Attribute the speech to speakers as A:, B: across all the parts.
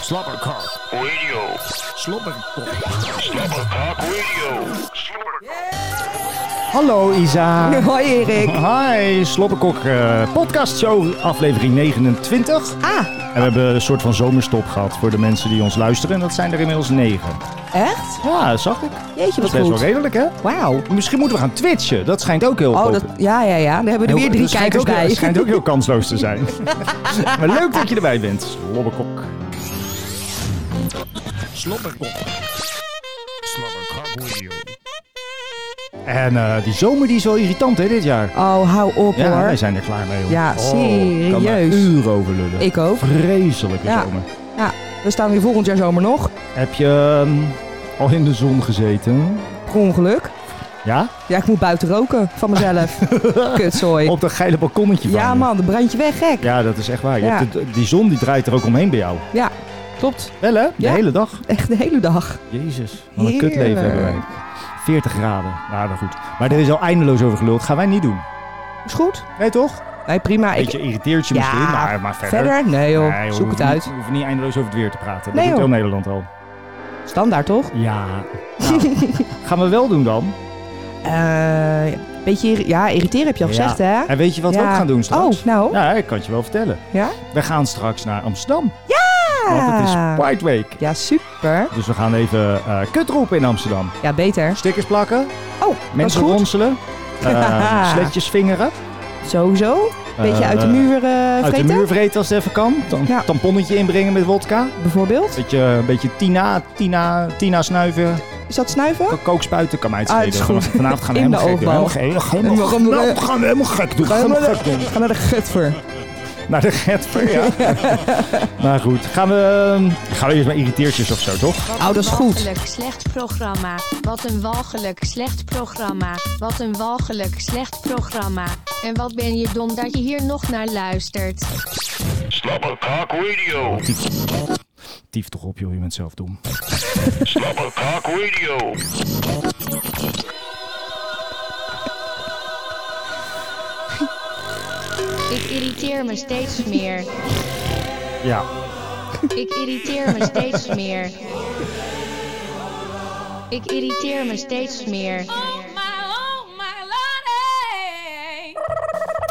A: Slobberkok.
B: Radio.
A: Slobberkok.
B: Slobberkok Radio. Slobberkok.
A: Hallo Isa.
C: Hoi Erik.
A: Hi, Slobberkok eh, podcast show aflevering 29.
C: Ah,
A: En we hebben een soort van zomerstop gehad voor de mensen die ons luisteren. En dat zijn er inmiddels negen.
C: echt?
A: Ja, dat zag ik.
C: Jeetje,
A: Dat is
C: wat
A: best wel
C: goed.
A: redelijk, hè?
C: Wauw.
A: Misschien moeten we gaan twitchen. Dat schijnt ook heel
C: Oh, dat,
A: populair.
C: ja, ja, ja. Daar hebben we er weer
A: Heel-
C: drie
A: dat schijnt
C: kijkers
A: ook,
C: bij.
A: Dat schijnt ook heel kansloos te zijn. maar leuk dat je erbij bent, Slobberkok. Slobberkok.
B: Slobberkok Radio.
A: En eh, die zomer die is wel irritant, hè, dit jaar.
C: Oh, hou op
A: Ja, wij
C: hoor.
A: zijn er klaar mee, hoor.
C: Ja,
A: Ik kan daar
C: serieus.
A: uren over lullen.
C: Ik ook.
A: Vreselijke
C: Ja.
A: zomer.
C: Ja, we staan hier volgend jaar zomer nog.
A: Heb je ehm, al in de zon gezeten?
C: Per ongeluk.
A: Ja?
C: Ja, ik moet buiten roken van mezelf. Kutzooi.
A: Op dat geile balkonnetje van
C: Ja
A: je.
C: man, dan brand je weg, gek.
A: Ja, dat is echt waar. Je
C: Ja.
A: hebt de- die zon die draait er ook omheen bij jou.
C: Ja, klopt.
A: Wel hè? De
C: Ja.
A: hele dag.
C: Echt de hele dag.
A: Jezus. Wat een
C: Heerlijk.
A: kutleven hebben wij. 40 graden. Nou, dat goed. Maar er is al eindeloos over geluld. Gaan wij niet doen.
C: Is goed?
A: Nee, toch?
C: Nee, prima. Ik,
A: Beetje irriteert je
C: Ja,
A: misschien, maar, maar verder.
C: verder? Nee joh,
A: Nee, we
C: zoek het
A: hoeven
C: uit.
A: Niet, we hoeven niet eindeloos over het weer te praten.
C: Nee,
A: dat doet
C: joh.
A: heel Nederland al.
C: Standaard toch?
A: Ja. Nou, gaan we wel doen dan.
C: Eh, beetje, irri- ja, irriteren heb je al
A: Ja.
C: gezegd hè?
A: En weet je wat we
C: Ja.
A: ook gaan doen straks?
C: Oh, nou?
A: Ja, ik kan het je wel vertellen.
C: Ja?
A: We gaan straks naar Amsterdam. Want het is Pride Week.
C: Ja, super.
A: Dus we gaan even eh kut roepen in Amsterdam.
C: Ja, beter.
A: Stickers plakken,
C: Oh,
A: mensen
C: dat is goed.
A: ronselen, eh sletjes vingeren.
C: Sowieso. Beetje
A: eh,
C: uit de muur eh
A: Uit de
C: vreten,
A: muur vreten als het even kan. Dan
C: Ja.
A: tamponnetje inbrengen met wodka.
C: bijvoorbeeld.
A: Beetje, een beetje Tina, Tina, Tina snuiven.
C: Is dat snuiven?
A: Ko- Kookspuiten kan mij het
C: Oh. Ah,
A: schelen.
C: het is goed.
A: Van- Vanavond gaan we
C: In de
A: helemaal gek doen.
C: oogbal.
A: Helemaal gek. Helemaal
C: We gaan
A: gek.
C: er-
A: Nou, we gaan helemaal gek doen. We gaan helemaal gek doen.
C: Ga naar de gutver.
A: Naar de getver, ja. maar goed, gaan we, ehm, gaan we eerst maar irriteertjes of zo, toch?
D: Wat
C: Oh, dat
D: een
C: is goed.
D: walgelijk slecht programma. Wat een walgelijk slecht programma. Wat een walgelijk slecht programma. En wat ben je dom dat je hier nog naar luistert.
B: Slobberkok Radio.
A: Tief toch op, joh. Je bent zelf dom.
B: Slobberkok Radio.
D: Ik irriteer me steeds meer.
A: Ja.
D: Ik irriteer me steeds meer. Ik irriteer me steeds meer.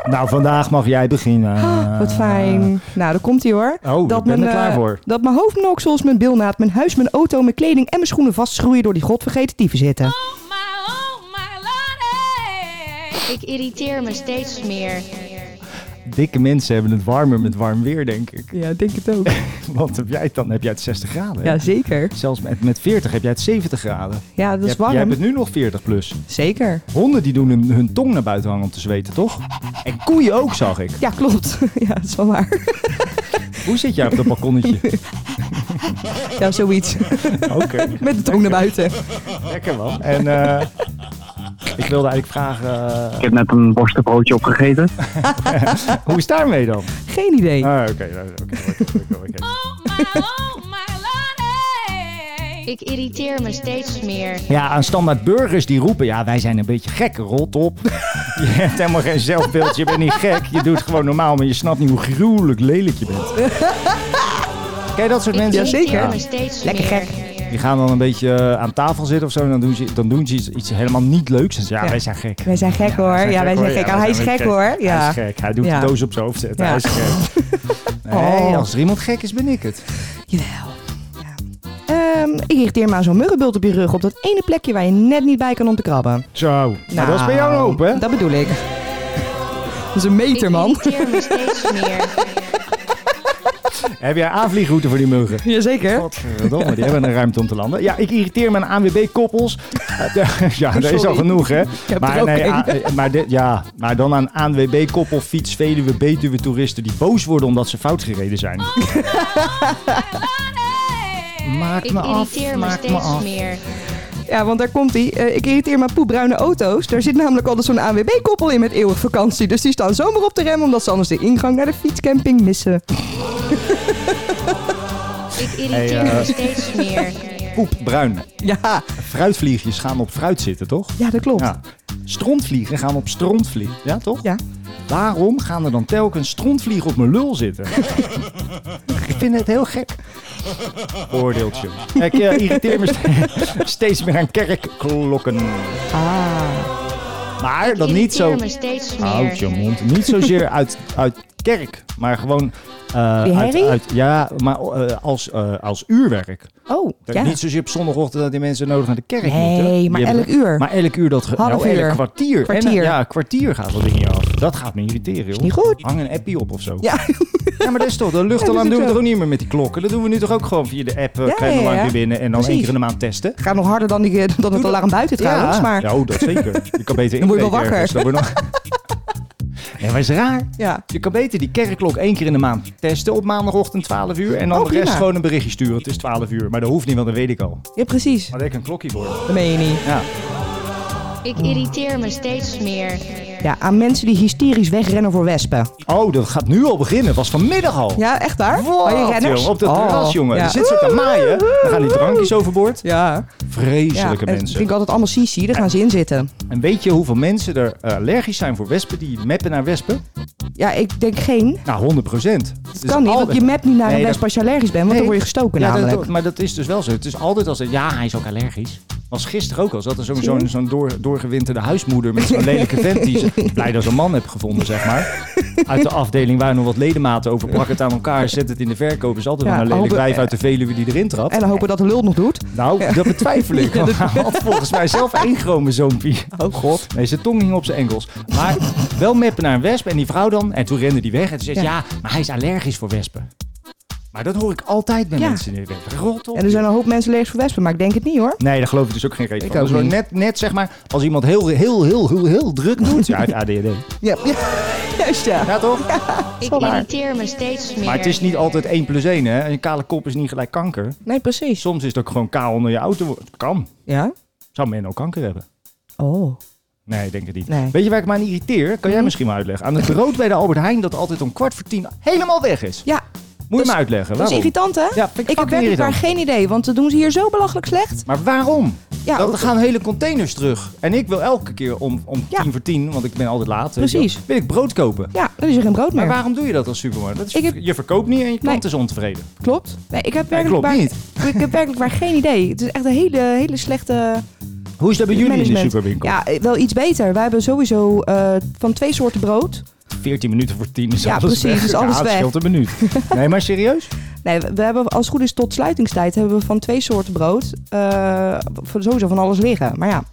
A: Nou, vandaag mag jij beginnen.
C: Ah, Wat fijn. Nou, daar komt hij hoor.
A: Eh. Oh, ik ben er
C: eh,
A: klaar voor.
C: Dat mijn hoofdnoksels, mijn bilnaad, mijn huis, mijn auto, mijn kleding en mijn schoenen vastschroeien door die godvergeten dieven zitten.
D: Ik irriteer me steeds meer.
A: Dikke mensen hebben het warmer met warm weer, denk ik.
C: Ja, ik denk het ook.
A: Want heb jij het dan? Heb jij het 60 graden? hè?
C: Ja, zeker.
A: Zelfs met, met 40 heb jij het 70 graden.
C: Ja, dat
A: Jij
C: is
A: hebt- Jij hebt
C: warm.
A: het nu nog 40 plus.
C: Zeker.
A: Honden die doen hun, hun tong naar buiten hangen om te zweten, toch? En koeien ook, zag ik.
C: Ja, klopt. Ja, dat is wel waar.
A: Hoe zit jij op dat balkonnetje?
C: Ja, zoiets.
A: Oké,
C: Met de tong naar buiten.
A: lekker man. En eh, ik wilde eigenlijk vragen, eh,
E: Ik heb net een worstenbroodje opgegeten.
A: hoe is daarmee dan?
C: Geen idee.
A: Ah, oké, nou, oké, oké, oké, oké.
D: Ik irriteer me steeds meer.
A: Ja, aan standaard burgers die roepen, ja, wij zijn een beetje gek, rot op. Je hebt helemaal geen zelfbeeld, je bent niet gek. Je doet gewoon normaal, maar je snapt niet hoe gruwelijk lelijk je bent. Ken je dat soort
D: Ik
A: mensen?
D: irriteer
C: zeker.
D: me steeds
C: Lekker
D: meer.
C: gek.
A: Die gaan dan een beetje eh, aan tafel zitten of zo. En dan doen ze, dan doen ze iets, iets helemaal niet leuks. En ze ja,
C: Ja.
A: wij zijn gek.
C: Wij zijn gek hoor. Ja, wij zijn
A: hoor.
C: gek.
A: Ja,
C: Oh, hij is gek hoor.
A: Hij
C: Ja.
A: is gek. Hij doet
C: Ja.
A: de doos op zijn hoofd zetten.
C: Ja.
A: Hij is gek. Nee,
C: Oh.
A: als er iemand gek is, ben ik het.
C: Jawel. Ja. Ehm, ik irriteer me aan zo'n muggenbult op je rug. Op dat ene plekje waar je net niet bij kan om te krabben. Nou,
A: Zo. Nou, dat is bij jou ook, hè?
C: Dat bedoel ik. Dat is een
D: Ik
C: meter, man.
D: irriteer me steeds meer.
A: Heb jij aanvliegroute voor die muggen?
C: Jazeker.
A: Godverdomme, die hebben een ruimte om te landen. Ja, ik irriteer me aan ANWB-koppels. ja, dat is al
C: Sorry.
A: genoeg, hè?
C: heb
A: Maar,
C: er ook
A: nee,
C: één.
A: a- eh, maar, dit, ja, maar dan aan ANWB-koppel, fiets, Veluwe, Betuwe toeristen die boos worden omdat ze fout gereden zijn.
D: Oh,
A: maak
D: Ik
A: me af,
D: irriteer me
A: maak me
D: steeds
A: af.
D: meer.
C: Ja, want daar komt hij. Eh, ik irriteer me aan poepbruine auto's. Daar zit namelijk altijd zo'n ANWB-koppel in met eeuwig vakantie. Dus die staan zomaar op de rem omdat ze anders de ingang naar de fietscamping missen.
D: Ik irriteer
A: Hey, eh.
D: me steeds meer.
A: Poep, bruin.
C: Ja,
A: Fruitvliegjes gaan op fruit zitten, toch?
C: ja dat klopt.
A: Ja. Strontvliegen gaan op strontvliegen, ja toch?
C: Ja.
A: Waarom gaan er dan telkens strontvliegen op mijn lul zitten? ik vind het heel gek. Oordeeltje. Ik eh, irriteer me ste- steeds meer aan kerkklokken.
C: Ah,
A: Maar dat
D: Ik
A: niet zo...
D: irriteer me steeds meer.
A: Houd je mond. Niet zozeer uit, uit kerk, maar gewoon... eh, uit,
F: Die herrie?
A: uit- ja, maar eh, als, eh, als uurwerk.
F: Oh,
A: Dat
F: ja.
A: Niet zozeer op zondagochtend dat die mensen nodig naar de kerk moeten.
F: Nee,
A: Die
F: maar
A: hebben-
F: elk uur.
A: Maar elk uur dat... ge-
F: Half
A: nou,
F: uur.
A: elk kwartier. En,
F: Kwartier.
A: eh, ja, kwartier gaat dat ding hier af. Dat gaat me irriteren, joh.
F: niet goed.
A: Hang een appie op of zo.
F: Ja.
A: Ja, maar dat is toch, de
F: Ja, dat
A: luchtalarm
F: is
A: doen we
F: ook
A: toch ook niet meer met die klokken? Dat doen we nu toch ook gewoon via de app, eh,
F: Ja,
A: krijgen we
F: ja,
A: lang
F: ja.
A: weer binnen en dan
F: Precies.
A: één keer in de maand testen.
C: gaat nog harder dan, die, dan het alarm buiten trouwens.
A: ja.
C: Maar
A: Ja, oh, dat zeker. Je kan beter
C: Dan word je wel
A: inbreken
C: wakker.
A: ergens. Dan word je nog... Ja, maar is raar.
C: ja.
A: Je kan beter die kerkklok één keer in de maand testen op maandagochtend 12 uur. En dan
C: Oh,
A: de rest
C: prima.
A: gewoon een berichtje sturen. Het is 12 uur. Maar dat hoeft niet, want dat weet ik al.
F: Ja, precies.
A: Maar dat ik een klokje word.
C: dat meen je niet.
A: Ja. Ah.
D: Ik irriteer me steeds meer.
C: Ja, aan mensen die hysterisch wegrennen voor wespen.
A: Oh, dat gaat nu al beginnen. Was vanmiddag al.
C: Ja, echt waar?
A: Wat,
C: Oh, je renners?
A: jongen, op dat
C: Oh,
A: terras, jongen.
C: ja.
A: Er zit ze te maaien. Dan gaan die drankjes overboord.
C: Ja, ja.
A: Vreselijke
C: en
A: mensen.
C: vind ik altijd allemaal sisi, daar gaan ze in zitten.
A: En weet je hoeveel mensen er eh, allergisch zijn voor wespen? Die meppen naar wespen?
C: Ja, ik denk geen.
A: Nou, 100 procent.
C: Dat kan niet, want je mept niet naar
A: Nee,
C: een
A: dat-
C: wesp als je allergisch bent, want dan word je gestoken namelijk.
A: maar dat is dus wel zo. Het is altijd als het, ja, hij is ook allergisch. Was gisteren ook al. Zat er zo'n
C: Zie je?
A: zo'n zo'n door, doorgewinterde huismoeder met zo'n lelijke vent die ze- blij dat ze een man heeft gevonden, zeg maar. Uit de afdeling waar nog wat ledematen over plak het aan elkaar, zet het in de verkoop. Is altijd
C: Ja,
A: wel een lelijk
C: hopen-
A: wijf uit de Veluwe die erin trapt.
C: En dan hopen dat de lul nog doet.
A: Nou, dat betwijfel ik. Want hij had volgens mij zelf één chromosoompie. Oh god. Nee, zijn tong hing op zijn enkels. Maar wel meppen naar een wesp en die vrouw dan. En toen rende die weg en toen zegt
C: Ja.
A: ja. maar hij is allergisch voor wespen. Maar dat hoor ik altijd bij
C: Ja.
A: mensen in de weg. Rot op.
C: En er zijn een hoop mensen leeg voor wespen, maar ik denk het niet hoor.
A: Nee, daar geloof ik dus ook geen reden
C: Ik
A: van.
C: ook
A: Dus
C: niet.
A: net, net zeg maar, als iemand heel, heel, heel, heel, heel druk doet. Ja, uit ADHD.
C: Ja, ja. juist ja.
A: Ja, toch?
D: Ik irriteer me steeds meer.
A: Maar het is niet altijd 1 plus 1, hè. Een kale kop is niet gelijk kanker.
C: Nee, precies.
A: Soms is het ook gewoon kaal onder je auto. Kan.
C: Ja?
A: Zou men ook kanker hebben?
C: Oh.
A: Nee, ik denk het niet.
C: Nee. Mhm.
A: Weet je waar ik me aan irriteer? Kan jij misschien wel uitleggen? Aan het brood bij de Albert Heijn dat altijd om kwart voor tien helemaal weg is.
C: Ja,
A: Moet je
C: is-
A: me uitleggen
C: dat is
A: waarom?
C: irritant hè?
A: Ja, vind ik
C: ik heb
A: fucking
C: werkelijk waar
A: irritant.
C: geen idee, want dat doen ze hier zo belachelijk slecht.
A: Maar waarom?
C: Ja,
A: dat,
C: ook-
A: er gaan hele containers terug. En ik wil elke keer om, om
C: Ja.
A: tien voor tien, want ik ben altijd laat. weet je
C: Precies.
A: wel, Wil ik brood kopen.
C: Ja, dan is er geen brood
A: Maar
C: meer.
A: waarom doe je dat als supermarkt? Dat is,
C: Ik heb-
A: Je verkoopt niet en je klant
C: Nee.
A: is ontevreden.
C: Klopt. Nee, ik heb werkelijk,
A: klopt
C: waar,
A: niet.
C: ik heb werkelijk waar geen idee. Het is echt een hele, hele slechte
A: Hoe is dat bij jullie in de
C: management.
A: superwinkel?
C: Ja, eh, wel iets beter. Wij hebben sowieso eh, van twee soorten brood.
A: 14 minuten voor tien is
C: Ja,
A: alles
C: precies,
A: weg.
C: is alles
A: ja, het
C: weg.
A: scheelt een minuut. Nee, maar serieus?
C: Nee, we we hebben als het goed is tot sluitingstijd hebben we van twee soorten brood eh, van sowieso van alles liggen. Maar ja,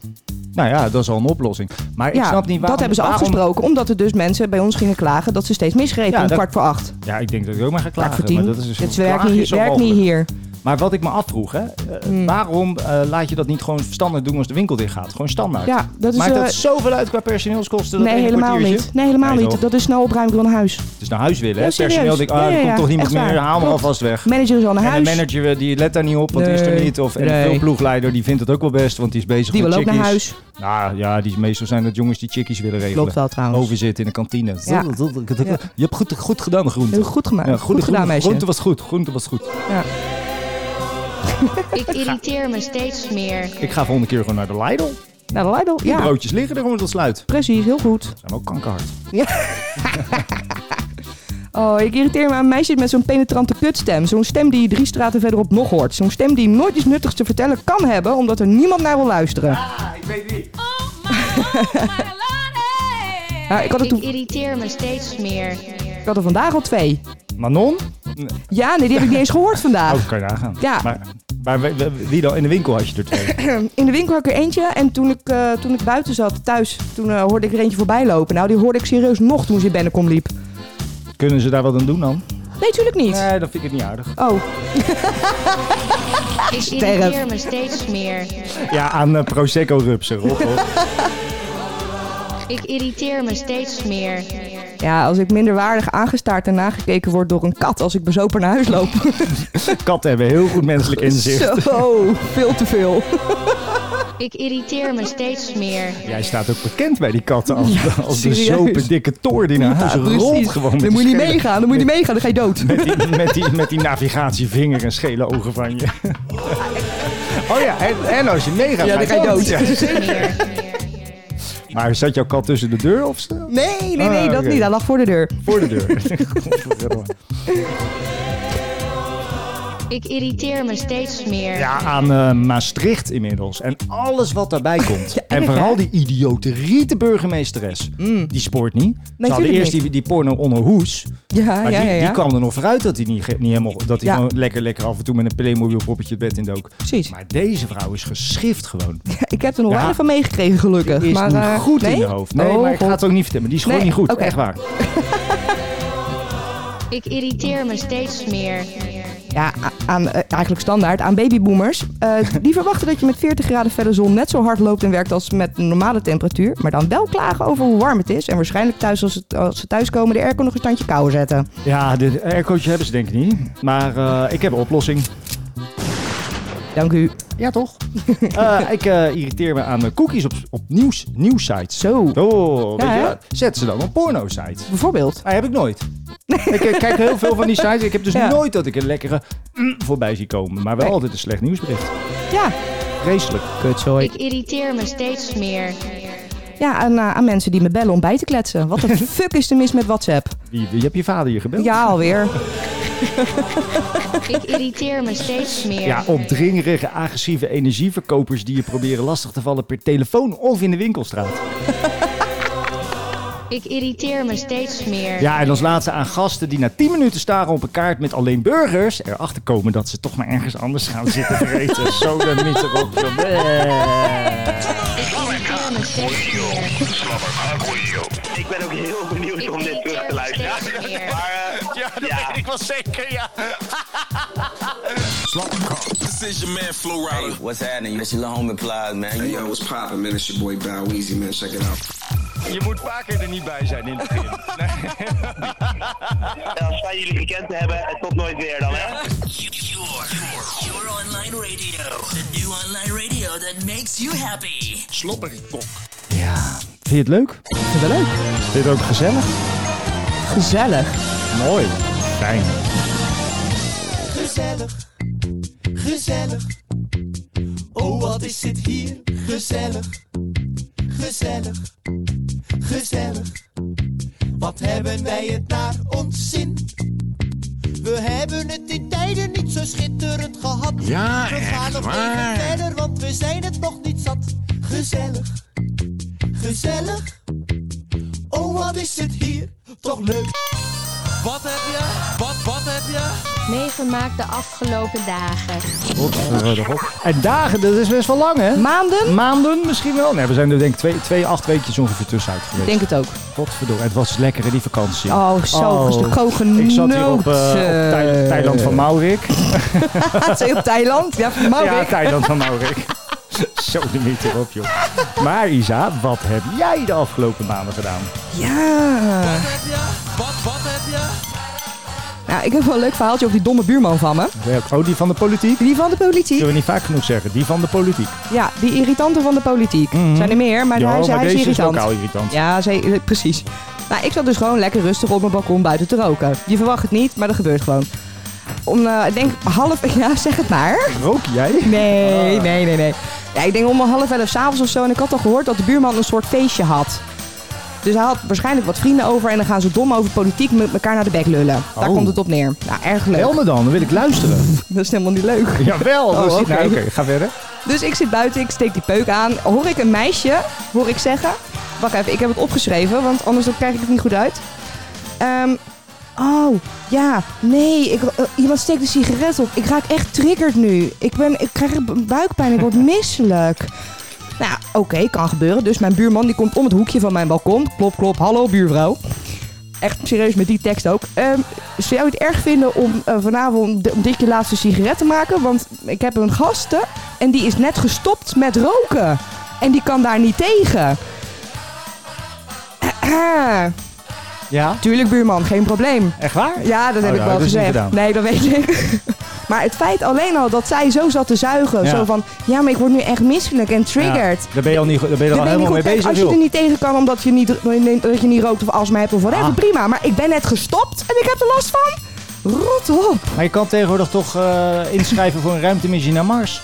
A: Nou ja, dat is al een oplossing. Maar ik
C: ja
A: snap niet waarom...
C: dat hebben ze
A: waarom-
C: afgesproken. Omdat er dus mensen bij ons gingen klagen dat ze steeds misgrepen
A: Ja,
C: om
A: dat-
C: kwart voor acht.
A: Ja, ik denk dat ik ook maar ga
C: Kwart
A: klagen.
C: voor tien.
A: Maar dat is dus
C: Het
A: klagen
C: werkt niet,
A: is al
C: werkt niet
A: mogelijk.
C: hier. Hmm.
A: Maar wat ik me afvroeg, hè, eh, waarom eh, laat je dat niet gewoon standaard doen als de winkel dicht gaat? Gewoon standaard.
C: Ja, dat is...
A: Maakt
C: eh,
A: dat zoveel uit qua personeelskosten? Dat
C: nee,
A: ene
C: helemaal
A: kwartiertje?
C: niet. Nee, helemaal
A: Nee,
C: niet.
A: toch?
C: Dat is snel opruimen van huis.
A: Het is naar huis willen. hè?
C: Ja, serieus.
A: Personeel denkt, ah,
C: Ja,
A: er
C: ja,
A: komt
C: ja.
A: toch niemand
C: Echt waar.
A: meer, haal me
C: Klopt.
A: alvast weg.
C: Manager is al naar
A: En
C: huis.
A: de manager eh, die let daar niet op, want die is er
C: Nee.
A: niet. Of, en de
C: Nee.
A: veelploegleider die vindt het ook wel best, want die is bezig
C: die
A: met
C: wil ook naar
A: chickies.
C: huis.
A: Nou ja, die, meestal zijn dat jongens die chickies willen regelen.
C: Klopt wel trouwens.
A: Over zitten in de kantine.
C: Ja.
A: Je hebt goed, goed gedaan, groente.
C: Heel goed gemaakt.
A: Ja,
C: goed, gedaan, meisje.
A: Groente was goed, groente was goed.
D: Ik irriteer me steeds meer.
A: Ik ga volgende keer gewoon naar de Lidl.
C: Nou, de Lidl.
A: Die
C: Ja,
A: broodjes liggen er gewoon tot sluit.
C: precies. Heel goed.
A: Zijn ook kankerhard.
C: Oh, ik irriteer me aan meisjes met zo'n penetrante kutstem. Zo'n stem die je drie straten verderop nog hoort. Zo'n stem die nooit iets nuttigs te vertellen kan hebben, omdat er niemand naar wil luisteren. Ja, ik, had er
D: Ik
C: toen,
D: irriteer me steeds meer.
C: ik had er vandaag al twee.
A: Manon?
C: Ja, nee, die heb ik niet eens gehoord vandaag.
A: Oh, kan je nagaan.
C: Ja.
A: Maar, maar we- we- wie dan? In de winkel had je er twee.
C: In de winkel had ik er eentje en toen ik, eh, toen ik buiten zat, thuis, toen eh, hoorde ik er eentje voorbij lopen. Nou, die hoorde ik serieus nog toen ze in Bennekom liep.
A: Kunnen ze daar wat aan doen dan?
C: Nee, tuurlijk niet.
A: Nee, dat vind ik het niet aardig.
C: Oh,
D: Ik irriteer me steeds meer.
A: Ja, aan eh, Prosecco-rupsen. Rob, hoor.
D: Ik irriteer me steeds meer.
C: ja, als ik minderwaardig aangestaard en nagekeken word door een kat als ik bezopen naar huis loop.
A: Katten hebben heel goed menselijk inzicht.
C: Zo, veel te veel.
D: Ik irriteer me steeds meer.
A: Jij staat ook bekend bij die katten als, als de
C: serieus.
A: zopen dikke toor die naar huis rolt
C: Precies.
A: gewoon. met
C: Dan moet je
A: die
C: niet
A: schele-
C: meegaan, dan moet je niet meegaan, dan ga je dood.
A: Met die, met, die, met die navigatievinger en schele ogen van je. Oh ja, en, en als je meegaat,
C: Ja, dan ga je dood.
A: Ja.
D: Meer.
A: Maar zat jouw kat tussen de deur of zo?
C: Nee, nee,
A: Ah,
C: nee, dat
A: oké.
C: niet. Hij lag voor de deur.
A: voor de deur?
D: Ik irriteer me steeds meer.
A: Ja, aan eh, Maastricht inmiddels. En alles wat daarbij komt. en vooral die idiote riete burgemeesteres. Die spoort niet. Ze hadden
C: Mm. tuurlijk
A: eerst die, die porno onder hoes.
C: Ja,
A: Maar
C: ja,
A: die,
C: ja.
A: die
C: ja.
A: kwam er nog vooruit dat hij niet, ge- niet helemaal... Dat hij
C: Ja.
A: gewoon lekker, lekker af en toe met een Playmobil poppetje het bed in dook.
C: Precies.
A: Maar deze vrouw is geschift gewoon. Die
C: Ik heb er nog
A: Ja.
C: weinig van meegekregen, gelukkig.
A: is
C: maar,
A: niet
C: eh,
A: goed
C: nee?
A: in je hoofd. Nee,
C: Oh,
A: maar ik ga
C: God.
A: het ook niet vertellen. Maar die is gewoon
C: Nee,
A: niet goed.
C: oké.
A: Echt waar.
D: Ik irriteer me steeds meer.
C: Ja, a- aan, eh, eigenlijk standaard aan babyboomers. Eh, die verwachten dat je met 40 graden verder zon net zo hard loopt en werkt als met een normale temperatuur. Maar dan wel klagen over hoe warm het is. En waarschijnlijk thuis als, het, als ze thuiskomen de airco nog een standje kou zetten.
A: Ja, de aircootje hebben ze denk ik niet. Maar eh, ik heb een oplossing.
C: Dank u.
A: Ja, toch? ik eh, irriteer me aan eh, cookies op, op nieuws, nieuwsites.
C: Zo,
A: Oh, weet
C: Ja,
A: je
C: hè?
A: wat? Zet ze dan op porno-sites.
C: bijvoorbeeld.
A: Dat heb ik nooit. ik eh, kijk heel veel van die sites. Ik heb dus
C: Ja.
A: nooit dat ik een lekkere mm voorbij zie komen. Maar wel
C: Nee.
A: altijd een slecht nieuwsbericht.
C: Ja,
A: Vreselijk.
C: kut, sorry.
D: Ik irriteer me steeds meer.
C: Ja, aan, eh, aan mensen die me bellen om bij te kletsen. Wat de fuck is er mis met WhatsApp?
A: Wie, wie heb je vader hier gebeld?
C: Ja, alweer.
D: Ik irriteer me steeds meer.
A: Ja, opdringerige, agressieve energieverkopers die je proberen lastig te vallen per telefoon of in de winkelstraat.
D: Ik irriteer me steeds meer.
A: Ja, en als laatste aan gasten die na 10 minuten staren op een kaart met alleen burgers... erachter komen dat ze toch maar ergens anders gaan zitten vreten. Zo dan niet erop. joh. Nee.
D: Ik irriteer me steeds meer.
B: Slobberkok Radio.
F: Ik ben ook heel
D: Ik
F: benieuwd om dit terug
D: irriteer me
F: te luisteren.
D: steeds meer.
F: Maar eh,
G: Ja, dat
F: Ja.
G: weet ik wel zeker, ja.
H: This is your man Flo
I: Hey,
H: Rida.
I: what's happening? That's your little homie Plies, man. You
J: Hey, yo, what's poppin', man? It's your boy Bow Weezy, man. Check it out.
G: Je moet vaker er niet bij zijn in het begin.
F: als wij jullie gekend hebben, eh, tot nooit weer dan, hè?
H: Your online radio. The new online radio that makes you happy.
G: Slobberkok.
A: Ja, vind je het leuk?
C: Ik vind het wel leuk.
A: Vind je het ook gezellig?
C: Gezellig.
A: Mooi. Fijn.
K: Oh,
G: Ja, echt waar.
K: Oh,
H: Wat heb je? Wat, wat heb je?
D: Meegemaakt de afgelopen dagen.
A: Godverdomme. En dagen, dat is best wel lang, hè?
C: Maanden?
A: Maanden misschien wel. Nee, we zijn er denk ik twee, twee acht weekjes ongeveer tussenuit
C: Ik
A: geweest.
C: denk het ook.
A: Godverdomme, het was lekker in die vakantie.
C: Oh, zo
A: Oh.
C: was de kogen
A: Ik zat hier op, eh, op Thai- Thailand van Maurik.
C: Ah, op Thailand? Ja, van Maurik.
A: Ja, Thailand van Maurik. Zo de meter erop, joh. Maar Isa, wat heb jij de afgelopen maanden gedaan?
C: Ja.
H: Wat heb je? Wat, wat heb je?
C: Nou, ik heb wel een leuk verhaaltje over die domme buurman van me.
A: Oh, die van de politiek?
C: Die van de politiek.
A: Zullen we niet vaak genoeg zeggen. Die van de politiek.
C: Ja, die irritanten van de politiek.
A: Mhm.
C: Zijn er meer, maar
A: Ja,
C: hij, is-
A: maar
C: hij is
A: deze is
C: irritant.
A: lokaal irritant.
C: ja, ze, eh, precies. Nou, ik zat dus gewoon lekker rustig op mijn balkon buiten te roken. Je verwacht het niet, maar dat gebeurt gewoon. Om, eh, ik denk half... Ja, zeg het maar.
A: Rook jij?
C: Nee, nee, nee, nee. Ja, ik denk om half elf s'avonds of zo. En ik had al gehoord dat de buurman een soort feestje had. Dus hij had waarschijnlijk wat vrienden over. En dan gaan ze dom over politiek met elkaar naar de bek lullen. Daar
A: Oh.
C: komt het op neer. Nou, erg leuk.
A: Bel me dan, dan wil ik luisteren.
C: Dat is helemaal niet leuk.
A: Jawel.
C: Oh,
A: dat is- nou, Oké,
C: oké.
A: ga verder.
C: Dus ik zit buiten, ik steek die peuk aan. Hoor ik een meisje, hoor ik zeggen. Wacht even, ik heb het opgeschreven, want anders dan krijg ik het niet goed uit. Ehm, oh, ja, nee, ik, eh, iemand steekt een sigaret op. Ik raak echt triggerd nu. Ik, ben, ik krijg bu- buikpijn, ik word misselijk. Nou, oké, kan gebeuren. Dus mijn buurman die komt om het hoekje van mijn balkon. Klop, klop, hallo buurvrouw. Echt serieus met die tekst ook. Ehm, zou je het erg vinden om eh, vanavond om dit je laatste sigaret te maken? Want ik heb een gasten en die is net gestopt met roken. En die kan daar niet tegen.
A: Ja?
C: Tuurlijk, buurman, geen probleem.
A: Echt waar?
C: Ja, dat heb
A: Oh,
C: ik
A: nou,
C: wel
A: dat is niet
C: gezegd.
A: gedaan.
C: nee, dat weet ik. maar het feit alleen al dat zij zo zat te zuigen.
A: Ja.
C: Zo van, ja, maar ik word nu echt misselijk en triggered.
A: Ja, daar ben je al, niet, daar ben je er
C: Dan
A: al
C: ben je niet
A: helemaal mee
C: goed. Kijk,
A: bezig,
C: als je
A: joh.
C: er niet tegen kan omdat je niet, dat je niet rookt of astma hebt of whatever,
A: Ah.
C: prima. Maar ik ben net gestopt en ik heb er last van. Rot op.
A: Maar je kan tegenwoordig toch eh, inschrijven voor een ruimtemissie naar Mars?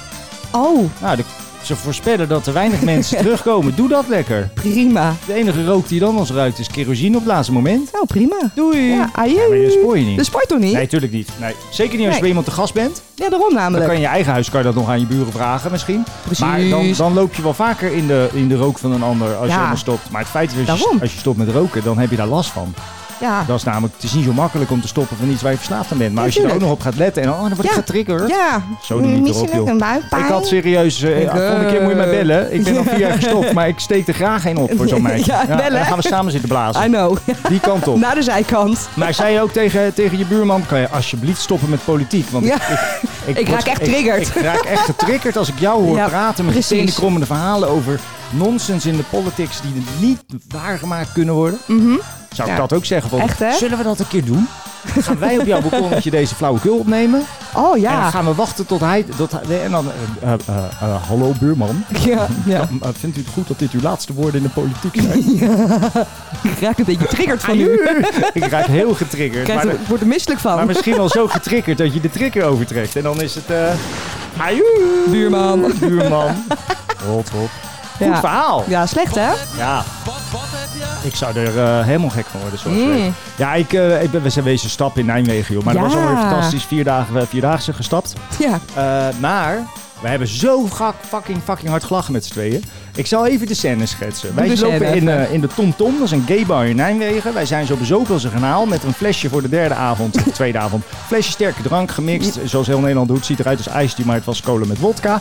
C: Oh,
A: Nou, de Ze voorspellen dat er weinig mensen terugkomen. Doe dat lekker.
C: Prima.
A: De enige rook die dan ons ruikt is kerosine op het laatste moment.
C: Nou, prima.
A: Doei.
C: Ja, ajoe.
A: maar je spoor je niet.
C: Dat Dus spoor je toch niet?
A: Nee, tuurlijk niet. Nee. Zeker niet als je
C: Nee.
A: bij iemand te gast bent.
C: Ja, daarom
A: Dan
C: namelijk.
A: kan je in je eigen huis kan je dat nog aan je buren vragen misschien.
C: Precies.
A: Maar dan, dan loop je wel vaker in de, in de rook van een ander als je
C: Ja.
A: helemaal stopt. Maar het feit is, als je,
C: Daarom.
A: als je stopt met roken, dan heb je daar last van.
C: Ja.
A: Dat is namelijk, het is niet zo makkelijk om te stoppen van iets waar je verslaafd aan bent. Maar
C: Ja,
A: als je er ook
C: tuurlijk.
A: nog op gaat letten en dan, oh, dan word ik
C: Ja.
A: getriggerd.
C: Ja.
A: Zo doe je het
C: Misschien
A: erop,
C: ook
A: joh.
C: een buikpijn.
A: Ik had serieus, eh,
C: Ik,
A: ja, volgende keer moet je mij
C: eh,
A: bellen. Ik ben al
C: ja.
A: vier jaar gestopt, maar ik steek er graag een op voor zo'n meisje.
C: Ja, wel,
A: en dan
C: hè? Nou,
A: gaan we samen zitten blazen.
C: I know.
A: Die kant op.
C: Naar de zijkant.
A: Maar zei je ook tegen, tegen je buurman, kan je alsjeblieft stoppen met politiek? Want
C: Ja.
A: ik, ik,
C: Ik
A: word-
C: raak echt triggerd.
A: Ik, ik raak echt getriggerd als ik jou hoor
C: Ja,
A: praten met
C: precies.
A: de krommende verhalen over nonsens in de politics die niet waargemaakt kunnen worden.
C: Mhm.
A: Zou ik
C: Ja.
A: dat ook zeggen? Van,
C: Echt, hè?
A: Zullen we dat een keer doen? Gaan wij op jouw balkonnetje deze flauwekul opnemen?
C: Oh
A: En dan
C: ja.
A: gaan we wachten tot hij... Tot hij en dan... eh, eh, eh, eh, hallo buurman.
C: Ja, ja.
A: Eh, vindt u het goed dat dit uw laatste woorden in de politiek zijn?
C: Ik raak een beetje getriggerd van u. Ik
A: Aju. ik raak heel getriggerd.
C: krijg
A: Ah, Maar,
C: er- ik word er misselijk
A: maar
C: van.
A: misschien wel zo getriggerd dat je de trigger overtrekt. En dan is het... eh ajoe.
C: Buurman.
A: Buurman. Rot, rot. Goed
C: Ja.
A: verhaal.
C: Ja, slecht hè?
A: Ja. Ik zou er eh, helemaal gek van worden. Zoals
C: Mm.
A: weet. Ja, ik, eh, ik ben, we zijn wezen stap in Nijmegen, joh. Maar dat
C: Ja.
A: was alweer fantastisch. Vier dagen, vier dagen zijn gestapt.
C: Ja.
A: Eh, maar we hebben zo gak- fucking, fucking hard gelachen met z'n tweeën. Ik zal even de scène schetsen. Wij
C: dus
A: lopen
C: even.
A: in, eh, in de Tom Tom, dat is een gay bar in Nijmegen. Wij zijn zo bezopen als een kanaal met een flesje voor de derde avond, de tweede avond. Flesje sterke drank, gemixt, zoals heel Nederland doet. Ziet eruit als ijsje, maar het was cola met wodka.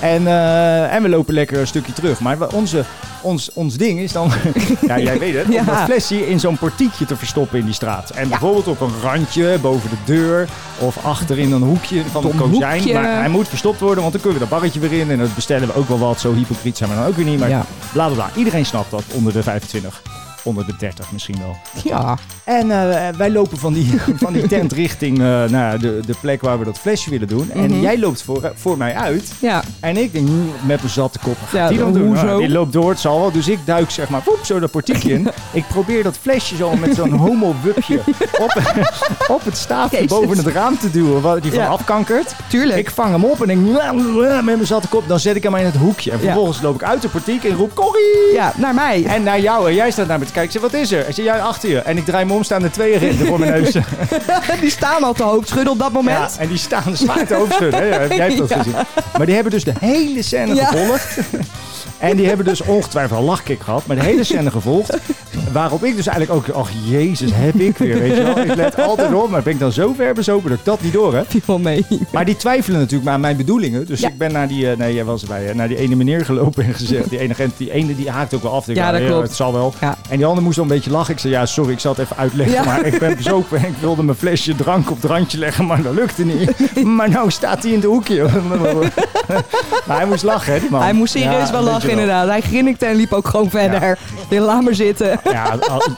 A: en, eh, en we lopen lekker een stukje terug. Maar we- onze, ons, ons ding is dan, ja, jij weet het, om
C: Ja.
A: dat flesje in zo'n portiekje te verstoppen in die straat. En bijvoorbeeld op een randje, boven de deur of achter in een hoekje van een
C: Dom
A: kozijn.
C: hoekje.
A: Maar hij moet verstopt worden, want dan kunnen we dat barretje weer in. En dat bestellen we ook wel wat. Zo hypocriet zijn we dan ook weer niet. Maar
C: Ja.
A: bla bla bla. Iedereen snapt dat onder de 25. Onder de 30 misschien wel.
C: Ja.
A: En eh, wij lopen van die, van die tent richting eh, naar de, de plek waar we dat flesje willen doen.
C: Mhm.
A: En jij loopt voor, voor mij uit.
C: Ja.
A: En ik denk, "Mm, met mijn zatte kop, wat gaat
C: Ja,
A: die dan doen?
C: hoezo?
A: Nou, die loopt door, het zal wel. Dus ik duik zeg maar, woep, zo dat portiekje in. Ik probeer dat flesje zo met zo'n homo-wupje op, op het staafje
C: Jezus.
A: boven het raam te duwen. Waar die van
C: Ja.
A: afkankert.
C: Tuurlijk.
A: Ik vang hem op en denk, "Wa, wa," met mijn zatte kop. Dan zet ik hem in het hoekje. En vervolgens loop ik uit de portiek en roep, Corrie!
C: Ja, naar mij.
A: En naar jou, en jij staat naar me te kijken. Ik zeg, wat is er? Ik zeg, jij achter je. En ik draai me om, staan er twee ritten voor mijn neus.
C: Die staan al te hoop schudden op dat
A: Ja,
C: moment.
A: en die staan zwaar te hoofdschudden. hè? Ja, Jij hebt dat
C: Ja.
A: gezien. Maar die hebben dus de hele scène
C: Ja.
A: gevolgd. En die hebben dus ongetwijfeld een lachkick gehad, maar de hele scène gevolgd. Waarop ik dus eigenlijk ook, ach jezus, heb ik weer, weet je wel. Ik let altijd op, maar ben ik dan zo ver bezopen dat ik dat niet door heb.
C: Die van mee.
A: Maar die twijfelen natuurlijk maar aan mijn bedoelingen. Dus
C: Ja.
A: ik ben naar die, eh, nee, jij was erbij, hè, naar die ene meneer gelopen en gezegd. Die ene agent, die ene die haakt ook wel af. Ik
C: Ja,
A: dacht,
C: dat
A: nou,
C: klopt.
A: Het zal wel.
C: Ja.
A: En die ander moest wel een beetje lachen. Ik zei, ja, sorry, ik zal het even uitleggen.
C: Ja.
A: Maar ik ben bezopen en ik wilde mijn flesje drank op het randje leggen, maar dat lukte niet. maar nou staat hij in de hoekje. maar hij moest lachen, hè, die man.
C: Hij moest serieus
A: Ja,
C: wel
A: weet
C: lachen,
A: je
C: inderdaad. Hij grinnikte en liep ook gewoon verder. Ja. Laat maar zitten.
A: Ja,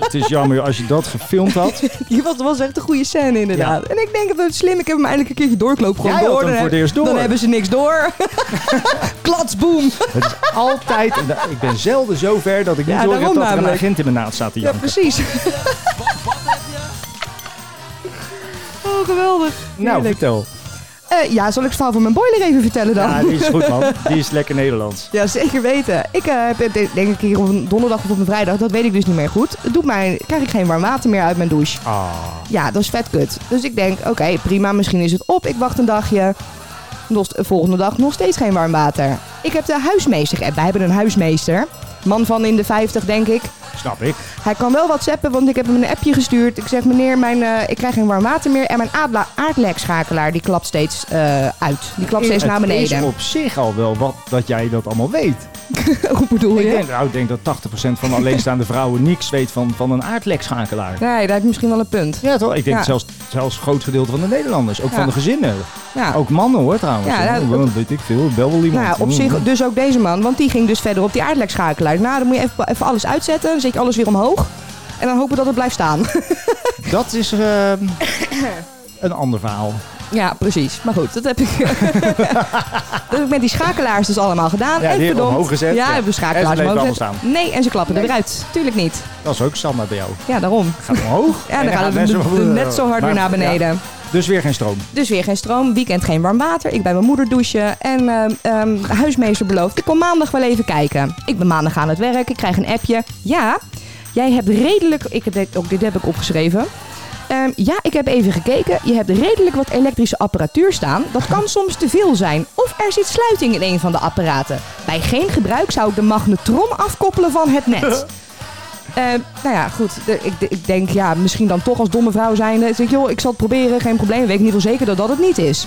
A: het is jammer als je dat gefilmd had.
C: Die was, was echt een goede scène, inderdaad. En ik denk dat het slim. Ik heb hem eindelijk een keertje doorklopen. Gewoon
A: Jij had
C: door.
A: hem
C: Dan
A: voor het eerst
C: heb-
A: door.
C: Dan hebben ze niks door. Klatsboom.
A: Het is altijd, ik ben zelden zo ver dat ik niet
C: Ja,
A: hoor heb
C: daarom
A: dat er een
C: namelijk.
A: agent in mijn naad staat te
C: Ja,
A: janken.
C: precies. Oh, geweldig.
A: nou,
C: Heerlijk.
A: vertel.
C: Eh, ja, zal ik het verhaal van mijn boiler even vertellen dan?
A: Ja, die is goed, man. Die is lekker Nederlands.
C: Ja, zeker weten. Ik eh, heb het de- denk ik hier op een donderdag of op een vrijdag, dat weet ik dus niet meer goed. Het doet mij, krijg ik geen warm water meer uit mijn douche.
A: Ah.
C: Ja, dat is vet kut. Dus ik denk, oké, prima, misschien is het op. Ik wacht een dagje. Nog, volgende dag nog steeds geen warm water. Ik heb de huismeester app. Wij hebben een huismeester. Man van in de 50, denk ik.
A: Snap ik.
C: Hij kan wel whatsappen, want ik heb hem een appje gestuurd. Ik zeg, meneer, mijn, eh, ik krijg geen warm water meer. En mijn aardla- aardlekschakelaar, die klapt steeds eh, uit. Die klapt steeds naar
A: Het is
C: beneden.
A: op zich al wel wat dat jij dat allemaal weet.
C: Hoe bedoel
A: Ik
C: je?
A: denk, nou, ik denk dat 80% van alleenstaande vrouwen niks weet van, van een aardlekschakelaar.
C: Nee, daar heb je misschien wel een punt.
A: Ja, toch? Ik denk
C: Ja.
A: zelfs, zelfs groot gedeelte van de Nederlanders. Ook
C: Ja.
A: van de gezinnen.
C: Ja.
A: Ook mannen hoor trouwens.
C: Ja,
A: Ja,
C: ja,
A: dat weet ik veel. Bel wel iemand.
C: Nou ja, op
A: Mm.
C: zich dus ook deze man. Want die ging dus verder op die aardlekschakelaar. Nou, dan moet je even, even alles uitzetten. Dan zet je alles weer omhoog. En dan hopen we dat het blijft staan.
A: Dat is ehm, een ander verhaal.
C: ja, precies. Maar goed, dat heb ik... dat heb ik met die schakelaars dus allemaal gedaan.
A: Ja, die
C: en
A: hebben
C: verdomd.
A: omhoog gezet.
C: Ja,
A: Ja.
C: hebben we
A: En ze
C: schakelaars
A: bleven
C: omhoog
A: allemaal
C: gezet. Nee, en ze klappen
A: Nee.
C: eruit. Tuurlijk niet.
A: Dat is ook standaard bij jou.
C: Ja, daarom.
A: Gaat omhoog.
C: Ja, dan
A: gaat
C: gaat het
A: net
C: net zo,
A: zo- eh,
C: net zo hard
A: Maar-
C: weer naar
A: ja.
C: beneden.
A: Dus weer geen stroom.
C: Dus weer geen stroom, weekend geen warm water. Ik bij mijn moeder douchen. En ehm, ehm, de huismeester belooft, ik kom maandag wel even kijken. Ik ben maandag aan het werk, ik krijg een appje. Ja, jij hebt redelijk... Ik heb dit, ook dit heb ik opgeschreven. Ehm, ja, ik heb even gekeken. Je hebt redelijk wat elektrische apparatuur staan. Dat kan soms te veel zijn. Of er zit sluiting in een van de apparaten. Bij geen gebruik zou ik de magnetron afkoppelen van het net. Eh, nou ja, goed. De- ik, de- ik denk, ja, misschien dan toch als domme vrouw zijnde. Zeg ik, joh, ik zal het proberen, geen probleem. Weet ik niet wel zeker dat dat het niet is.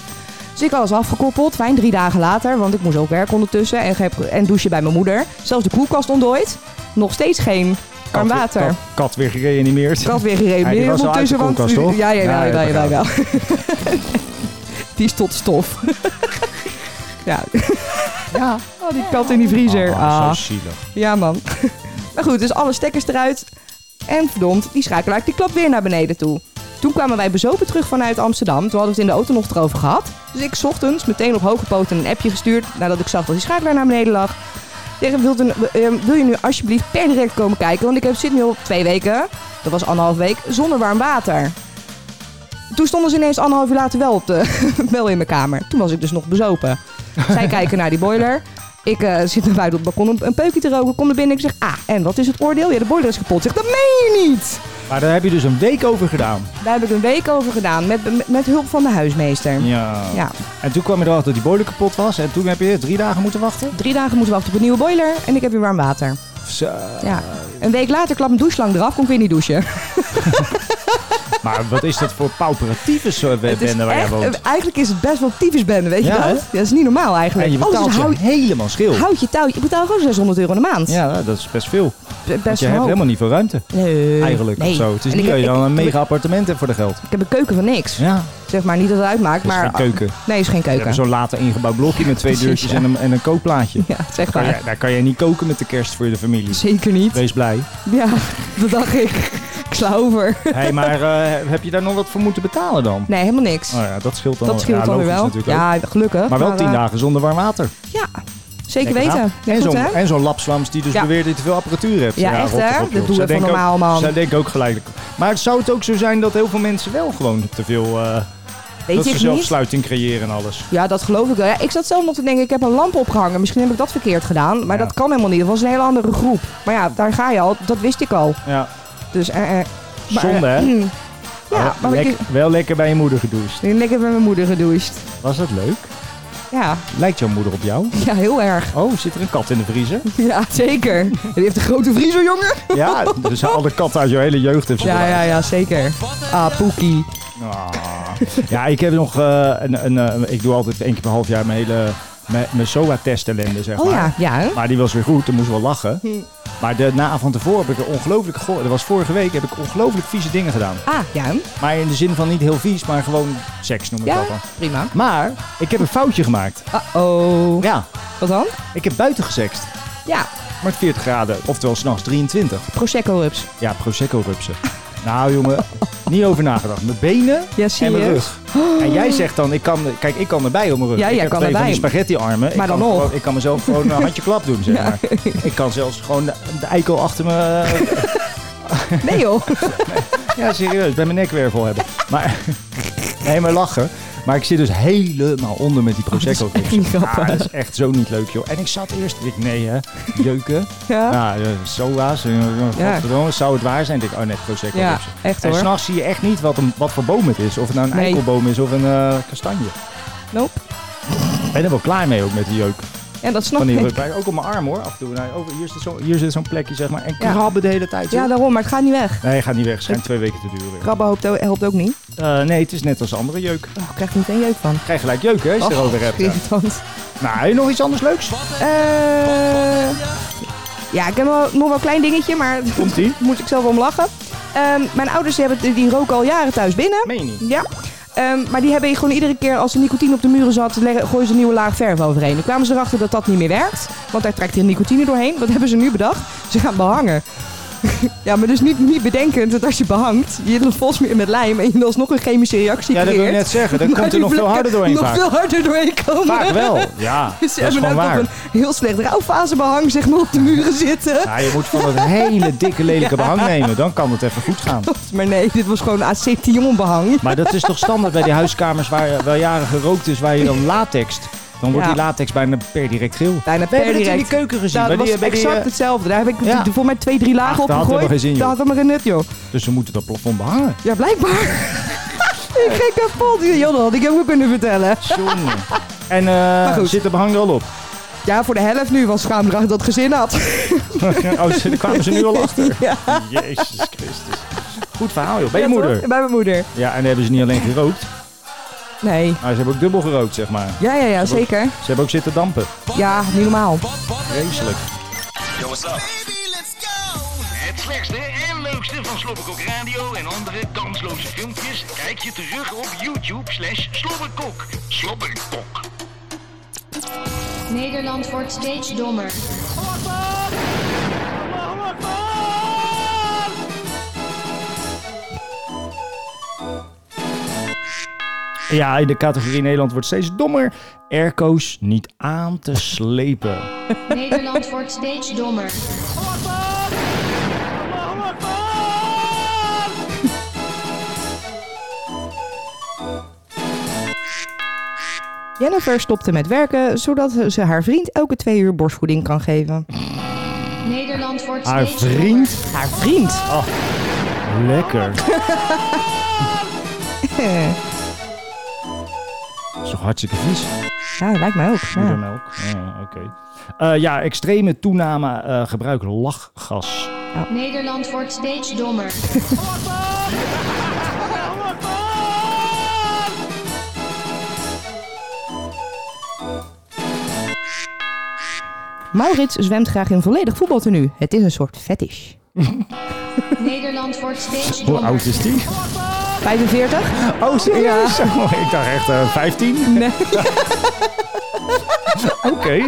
C: Dus ik alles afgekoppeld. Fijn, drie dagen later, want ik moest ook werken ondertussen. En, geen- en douchen bij mijn moeder. Zelfs de koelkast ontdooid. Nog steeds geen warm
A: Kat-
C: water.
A: Kat, kat weer gereanimeerd.
C: Kat weer
A: Ja, die
C: gereden.
A: was wel uit de koelkast, toch?
C: Ja, ja, ja, ja,
A: dat
C: ja,
A: gaat.
C: ja. Die is tot stof. ja. ja, oh, die kat in die vriezer.
A: Ah,
C: Ah.
A: zo zielig.
C: Ja, man. maar goed, dus alle stekkers eruit. En verdomd, die schakelaar die klapt weer naar beneden toe. Toen kwamen wij bezopen terug vanuit Amsterdam. Toen hadden we het in de auto nog erover gehad. Dus ik 's ochtends meteen op hoge poten een appje gestuurd. Nadat ik zag dat die schakelaar naar beneden lag. Tegen wilde, ehm, wil je nu alsjeblieft per direct komen kijken? Want ik heb, zit nu al twee weken, dat was anderhalf week, zonder warm water. Toen stonden ze ineens anderhalf uur later wel, op de, wel in mijn kamer. Toen was ik dus nog bezopen. Zij kijken naar die boiler. Ik eh, zit naar buiten op het balkon een, een peukje te roken. Kom er binnen. Ik zeg, ah, en wat is het oordeel? Ja, de boiler is kapot. Zeg, dat meen je niet.
A: Maar daar heb je dus een week over gedaan.
C: Daar heb ik een week over gedaan. Met, met, met hulp van de huismeester.
A: Ja.
C: Ja.
A: En toen kwam je erachter dat die boiler kapot was. En toen heb je drie dagen moeten wachten.
C: Drie dagen moeten wachten op een nieuwe boiler. En ik heb weer warm water.
A: Zo.
C: Ja. Een week later klap mijn douchelang eraf. Kon ik weer niet douchen.
A: Maar wat is dat voor pauperatieve soort
C: Het is
A: bende waar jij
C: echt-
A: woont?
C: eh, eigenlijk is het best wel tyfusbende, weet
A: Ja,
C: je
A: hè?
C: dat? Ja, dat is niet normaal eigenlijk.
A: En je
C: Alles
A: betaalt
C: is
A: ze
C: hout,
A: helemaal schil.
C: houtje touwtje. Ik betaal gewoon 600 euro in de maand.
A: Ja, nou, dat is best veel.
C: Be-
A: Want
C: Best
A: je hebt
C: hoog.
A: helemaal niet veel ruimte.
C: Nee.
A: Eigenlijk
C: nee.
A: of zo. Het is
C: En
A: niet
C: ik,
A: dat je
C: ik-
A: dan een
C: ik-
A: mega appartement hebt voor de geld.
C: Ik heb een keuken van niks.
A: Ja,
C: Zeg maar niet dat het uitmaakt,
A: maar,
C: maar...
A: geen keuken.
C: Nee, is geen
A: We hebben
C: keuken.
A: zo'n later ingebouwd blokje met twee
C: Precies,
A: deurtjes
C: ja.
A: en, een, en een kookplaatje.
C: Ja, zeg
A: Kan
C: maar.
A: jij- daar kan je niet koken met de kerst voor je familie.
C: Zeker niet.
A: Wees blij.
C: Ja, dat dacht ik. Ik sla over.
A: hey, maar eh, heb je daar nog wat voor moeten betalen dan?
C: Nee, helemaal niks.
A: Oh ja, dat scheelt dan
C: Dat scheelt
A: ja,
C: dan weer
A: logisch
C: wel.
A: natuurlijk ook.
C: Ja, gelukkig.
A: Maar wel tien
C: eh,
A: dagen zonder warm water.
C: Ja,
A: Lekker
C: zeker weten.
A: aan.
C: Ja,
A: en
C: goed,
A: zo'n
C: hè?
A: en zo'n lapswams die dus
C: Ja.
A: beweert dat je te veel apparatuur hebt.
C: Ja, echt,
A: rot
C: hè?
A: erop,
C: Dat
A: joh.
C: doen
A: Zij
C: we even
A: denken ook-
C: normaal, man.
A: Zij denken ook gelijk. Maar zou het ook zo zijn dat heel veel mensen wel gewoon te veel... eh,
C: Weet
A: dat
C: je
A: ze
C: ik niet?
A: zelfsluiting creëren en alles.
C: Ja, dat geloof ik wel. Ja, ik zat zelf nog te denken, ik heb een lamp opgehangen. Misschien heb ik dat verkeerd gedaan. Maar
A: Ja.
C: dat kan helemaal niet. Dat was een hele andere groep. Maar ja, daar ga je al. Dat wist ik al.
A: Ja,
C: Dus eh, eh. Maar,
A: zonde hè?
C: eh, ja, maar
A: Lek- Wel lekker bij je moeder gedoucht.
C: ik, lekker met mijn moeder gedoucht.
A: Was dat leuk?
C: Ja,
A: Lijkt jouw moeder op jou?
C: ja, heel erg.
A: Oh, zit er een kat in de vriezer?
C: Ja, zeker. Die heeft een grote vriezer, jongen.
A: Ja, dus alle katten uit jouw hele jeugd hebben ze
C: Ja, ja, ja, zeker. Ah, Poekie.
A: Ah. Ja, ik heb nog eh, een, een, eh, Ik doe altijd één keer per half jaar mijn hele. mijn, mijn SOA-test ellende, zeg
C: Oh
A: maar.
C: ja, ja. Hm. hè?
A: Maar die was weer goed, dan moesten we wel lachen. Maar de, na van tevoren heb ik er ongelooflijk. go- Dat was vorige week, heb ik ongelooflijk vieze dingen gedaan.
C: Ah, ja. hè?
A: Maar in de zin van niet heel vies, maar gewoon seks noem ik
C: Ja,
A: dat dan.
C: prima.
A: Maar ik heb een foutje gemaakt.
C: Uh-oh.
A: Ja,
C: Wat dan?
A: ik heb buiten gesext.
C: Ja,
A: Maar 40 graden, oftewel s'nachts 23.
C: Prosecco-rups.
A: Ja, Prosecco-rupsen. Nou jongen, niet over nagedacht. Mijn benen
C: Ja, zie
A: en mijn
C: je.
A: rug. En jij zegt dan, ik kan, kijk, ik kan erbij op mijn rug.
C: Ja,
A: ik
C: jij
A: heb
C: kan
A: twee van
C: erbij.
A: die spaghetti-armen.
C: Maar
A: ik
C: dan
A: kan
C: nog.
A: gewoon- Ik kan mezelf gewoon een handje klap doen, zeg maar. Ik kan zelfs gewoon de, de eikel achter me... eh,
C: Nee joh.
A: ja, serieus, bij mijn nekwervel hebben. Maar, nee, maar lachen. Maar ik zit dus helemaal onder met die prosecco
C: Oh, echt niet grappig.
A: Ah, dat is echt zo niet leuk, joh. En ik zat eerst, ik, nee hè, jeuken.
C: Ja.
A: Nou, eh, zo was.
C: Ja.
A: Godverdomme, zou het waar zijn? Ik denk, oh nee, prosecco
C: Ja,
A: rupsen.
C: echt
A: En
C: hoor.
A: s'nachts zie je echt niet wat, een, wat voor boom het is. Of het nou een
C: Nee.
A: eikelboom is of een eh, kastanje.
C: Nope.
A: Ik ben er wel klaar mee ook met die jeuk.
C: Ja, dat snap
A: Van die
C: ik.
A: rugpijn. Ook op mijn arm hoor. Af en toe. Nou, over, hier zit zo- hier zit zo'n plekje zeg maar. En
C: Ja.
A: krabben de hele tijd.
C: Ja,
A: joh.
C: daarom, maar het gaat niet weg.
A: Nee, gaat niet weg. Schijnt twee weken te duren.
C: Krabben helpt ook, helpt ook niet.
A: Eh, nee, het is net als andere jeuk.
C: Oh, ik krijg er meteen jeuk van.
A: Ik Krijg gelijk jeuk hè, als je erover hebt. ja.
C: irritant.
A: Nou, heb je nog iets anders leuks?
C: Eh, ja, ik heb wel, nog wel een klein dingetje, maar daar
A: Komt ie?
C: moet ik zelf om lachen. Ehm, mijn ouders die hebben, die roken al jaren thuis binnen.
A: Meen je niet?
C: Ja. Ehm, maar die hebben gewoon iedere keer als er nicotine op de muren zat, leggen- gooien ze een nieuwe laag verf overheen. Toen kwamen ze erachter dat dat niet meer werkt, want daar trekt de nicotine doorheen. Wat hebben ze nu bedacht? Ze gaan behangen. Ja, maar dus niet, niet bedenkend dat als je behangt, je volgens meer met lijm en je alsnog een chemische reactie
A: Ja, dat wil
C: creëert.
A: ik net zeggen. Dan
C: maar
A: komt er
C: die
A: nog veel
C: vlekken
A: harder doorheen
C: nog
A: vaak.
C: veel harder doorheen komen.
A: Vaak wel, ja.
C: Dus ze
A: dat is
C: hebben
A: gewoon
C: ook
A: waar.
C: nog een heel slecht rouwfasebehang zeg maar, op de muren zitten.
A: Ja, Nou, je moet van dat hele dikke lelijke
C: Ja.
A: behang nemen. Dan kan het even goed gaan.
C: Maar nee, dit was gewoon acetion behang.
A: Maar dat is toch standaard bij die huiskamers waar eh, wel jaren gerookt is, waar je dan latext. Dan wordt
C: Ja.
A: die latex bijna per direct geel.
C: Bijna
A: We hebben
C: per
A: het in
C: direct.
A: die keuken gezien.
C: Nou,
A: bij
C: dat
A: die, bij
C: was
A: die,
C: exact
A: eh,
C: hetzelfde. Daar heb ik
A: ja.
C: voor mij twee, drie lagen
A: Ach,
C: op
A: dat had
C: gegooid.
A: helemaal geen zin, joh.
C: Dat had helemaal geen nut, joh.
A: Dus ze moeten dat plafond behangen.
C: Ja, blijkbaar. ik ging kapot. Joh, dat had ik hem ook kunnen vertellen.
A: Jongen. En eh,
C: goed.
A: zit de behang er al op?
C: Ja, voor de helft nu, want schaamdrag dat gezin had.
A: oh, ze, daar kwamen ze nu al achter.
C: Ja.
A: Jezus Christus. Goed verhaal, joh. Bij je
C: Ja,
A: moeder.
C: toch? Bij mijn moeder.
A: Ja, en dan hebben ze niet alleen gerookt,
C: Nee.
A: maar ze hebben ook dubbel gerookt, zeg maar.
C: Ja, ja, ja, zeker.
A: Ze hebben ook zitten dampen.
C: Ja, niet normaal.
A: Vreselijk.
I: Yo, what's up?
B: Het slechtste en leukste van Slobberkok Radio en andere kansloze filmpjes kijk je terug op YouTube slash Slobberkok. Slobberkok.
D: Nederland wordt steeds dommer.
A: Ja, in de categorie Nederland wordt steeds dommer. Airco's niet aan te slepen.
D: Nederland wordt steeds dommer.
C: Jennifer stopte met werken, zodat ze haar vriend elke twee uur borstvoeding kan geven.
D: Nederland wordt
A: Haar
D: steeds dommer.
A: vriend? Oh,
C: Haar vriend?
A: Lekker.
C: Eh,
A: Dat is toch hartstikke vies?
C: Ja, lijkt mij ook. Ja.
A: Moedermelk. Ja, oké. Eh, ja, extreme toename eh, gebruik lachgas.
D: Nederland wordt steeds dommer.
C: Maurits zwemt graag in volledig voetbaltenu. Het is een soort fetish.
D: Nederland wordt steeds
A: Hoe
D: dommer.
A: oud is die?
C: 45?
A: Oh, serieus? Oh, ik dacht echt eh, 15.
C: Nee.
A: Oké.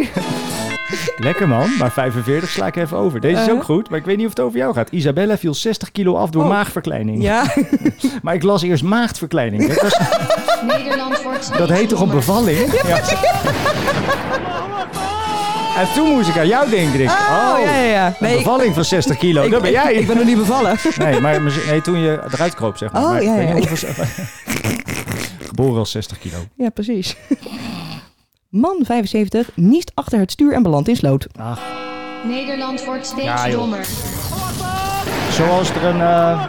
A: Lekker man, maar 45 sla ik even over. Deze is ook goed, maar ik weet niet of het over jou gaat. Isabella viel 60 kilo af door
C: Eh. Oh.
A: maagverkleining.
C: Ja.
A: Maar ik las eerst maagdverkleining. Dat, was,
D: Nederland wordt steeds
A: dat heet toch een
D: dommer.
A: bevalling? Ja. En toen moest ik aan jou denken. denk ik,
C: Oh, ja, ja, ja.
A: Een bevalling van 60 kilo, dat ben jij.
C: Ik, ik ben nog niet bevallen.
A: Nee, maar misschien- nee, toen je eruit kroop, zeg maar.
C: Oh,
A: Maar ik
C: ja,
A: weet
C: ja.
A: niet of het- Geboren als 60 kilo.
C: Ja, precies. Man 75 niest achter het stuur en belandt in sloot.
A: Nou,
D: Nederland wordt steeds
A: Ja, joh.
D: dommer.
A: Zoals er een, eh,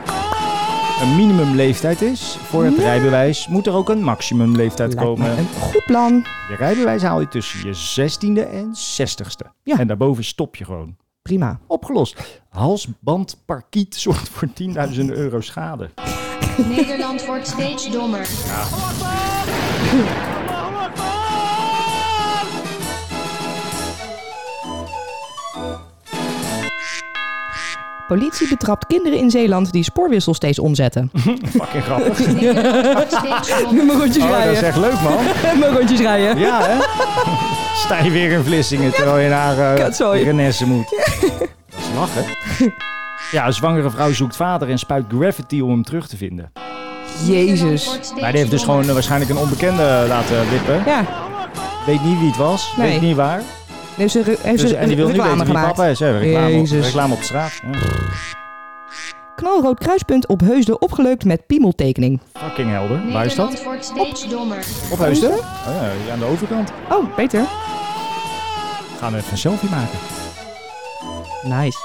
A: een minimumleeftijd is voor het rijbewijs, moet er ook een maximumleeftijd
C: Lijkt me
A: komen.
C: een goed plan.
A: Je rijbewijs haal je tussen je 16e en 60ste.
C: Ja.
A: En daarboven stop je gewoon.
C: Prima.
A: Opgelost. Halsbandparkiet zorgt voor 10.000 euro schade.
D: Nederland wordt steeds dommer.
C: Politie betrapt kinderen in Zeeland die spoorwissel steeds omzetten.
A: Fucking grappig.
D: Nederland wordt steeds dommer.
C: mijn rondjes
A: Oh, Oh, dat is
C: rijden.
A: echt leuk, man.
C: mijn rondjes rijden.
A: Ja, hè? Sta je weer in Vlissingen terwijl je naar eh
C: Kutzooi.
A: Renesse moet. Dat is lachen. Ja, een zwangere vrouw zoekt vader en spuit graffiti om hem terug te vinden.
D: Nederland
C: Jezus.
D: wordt steeds
A: Maar die heeft dus
D: dommer.
A: gewoon eh, waarschijnlijk een onbekende laten wippen.
C: Ja,
A: Weet niet wie het was,
C: Nee.
A: weet niet waar.
C: heeft ze, re- heeft
A: Dus,
C: ze
A: en
C: een
A: die wil nu
C: reclame
A: weten wie
C: gemaakt.
A: papa is. Hè? Reclame, op,
C: Jezus.
A: reclame op straat. Ja.
C: Knalrood kruispunt op Heusden opgeleukt met piemeltekening.
A: Fucking helder. Waar is dat?
D: Nederland wordt steeds dommer.
A: Op Heusden? Oh, ja, hier aan de overkant.
C: Oh, beter.
A: Gaan we even een selfie maken.
C: Nice.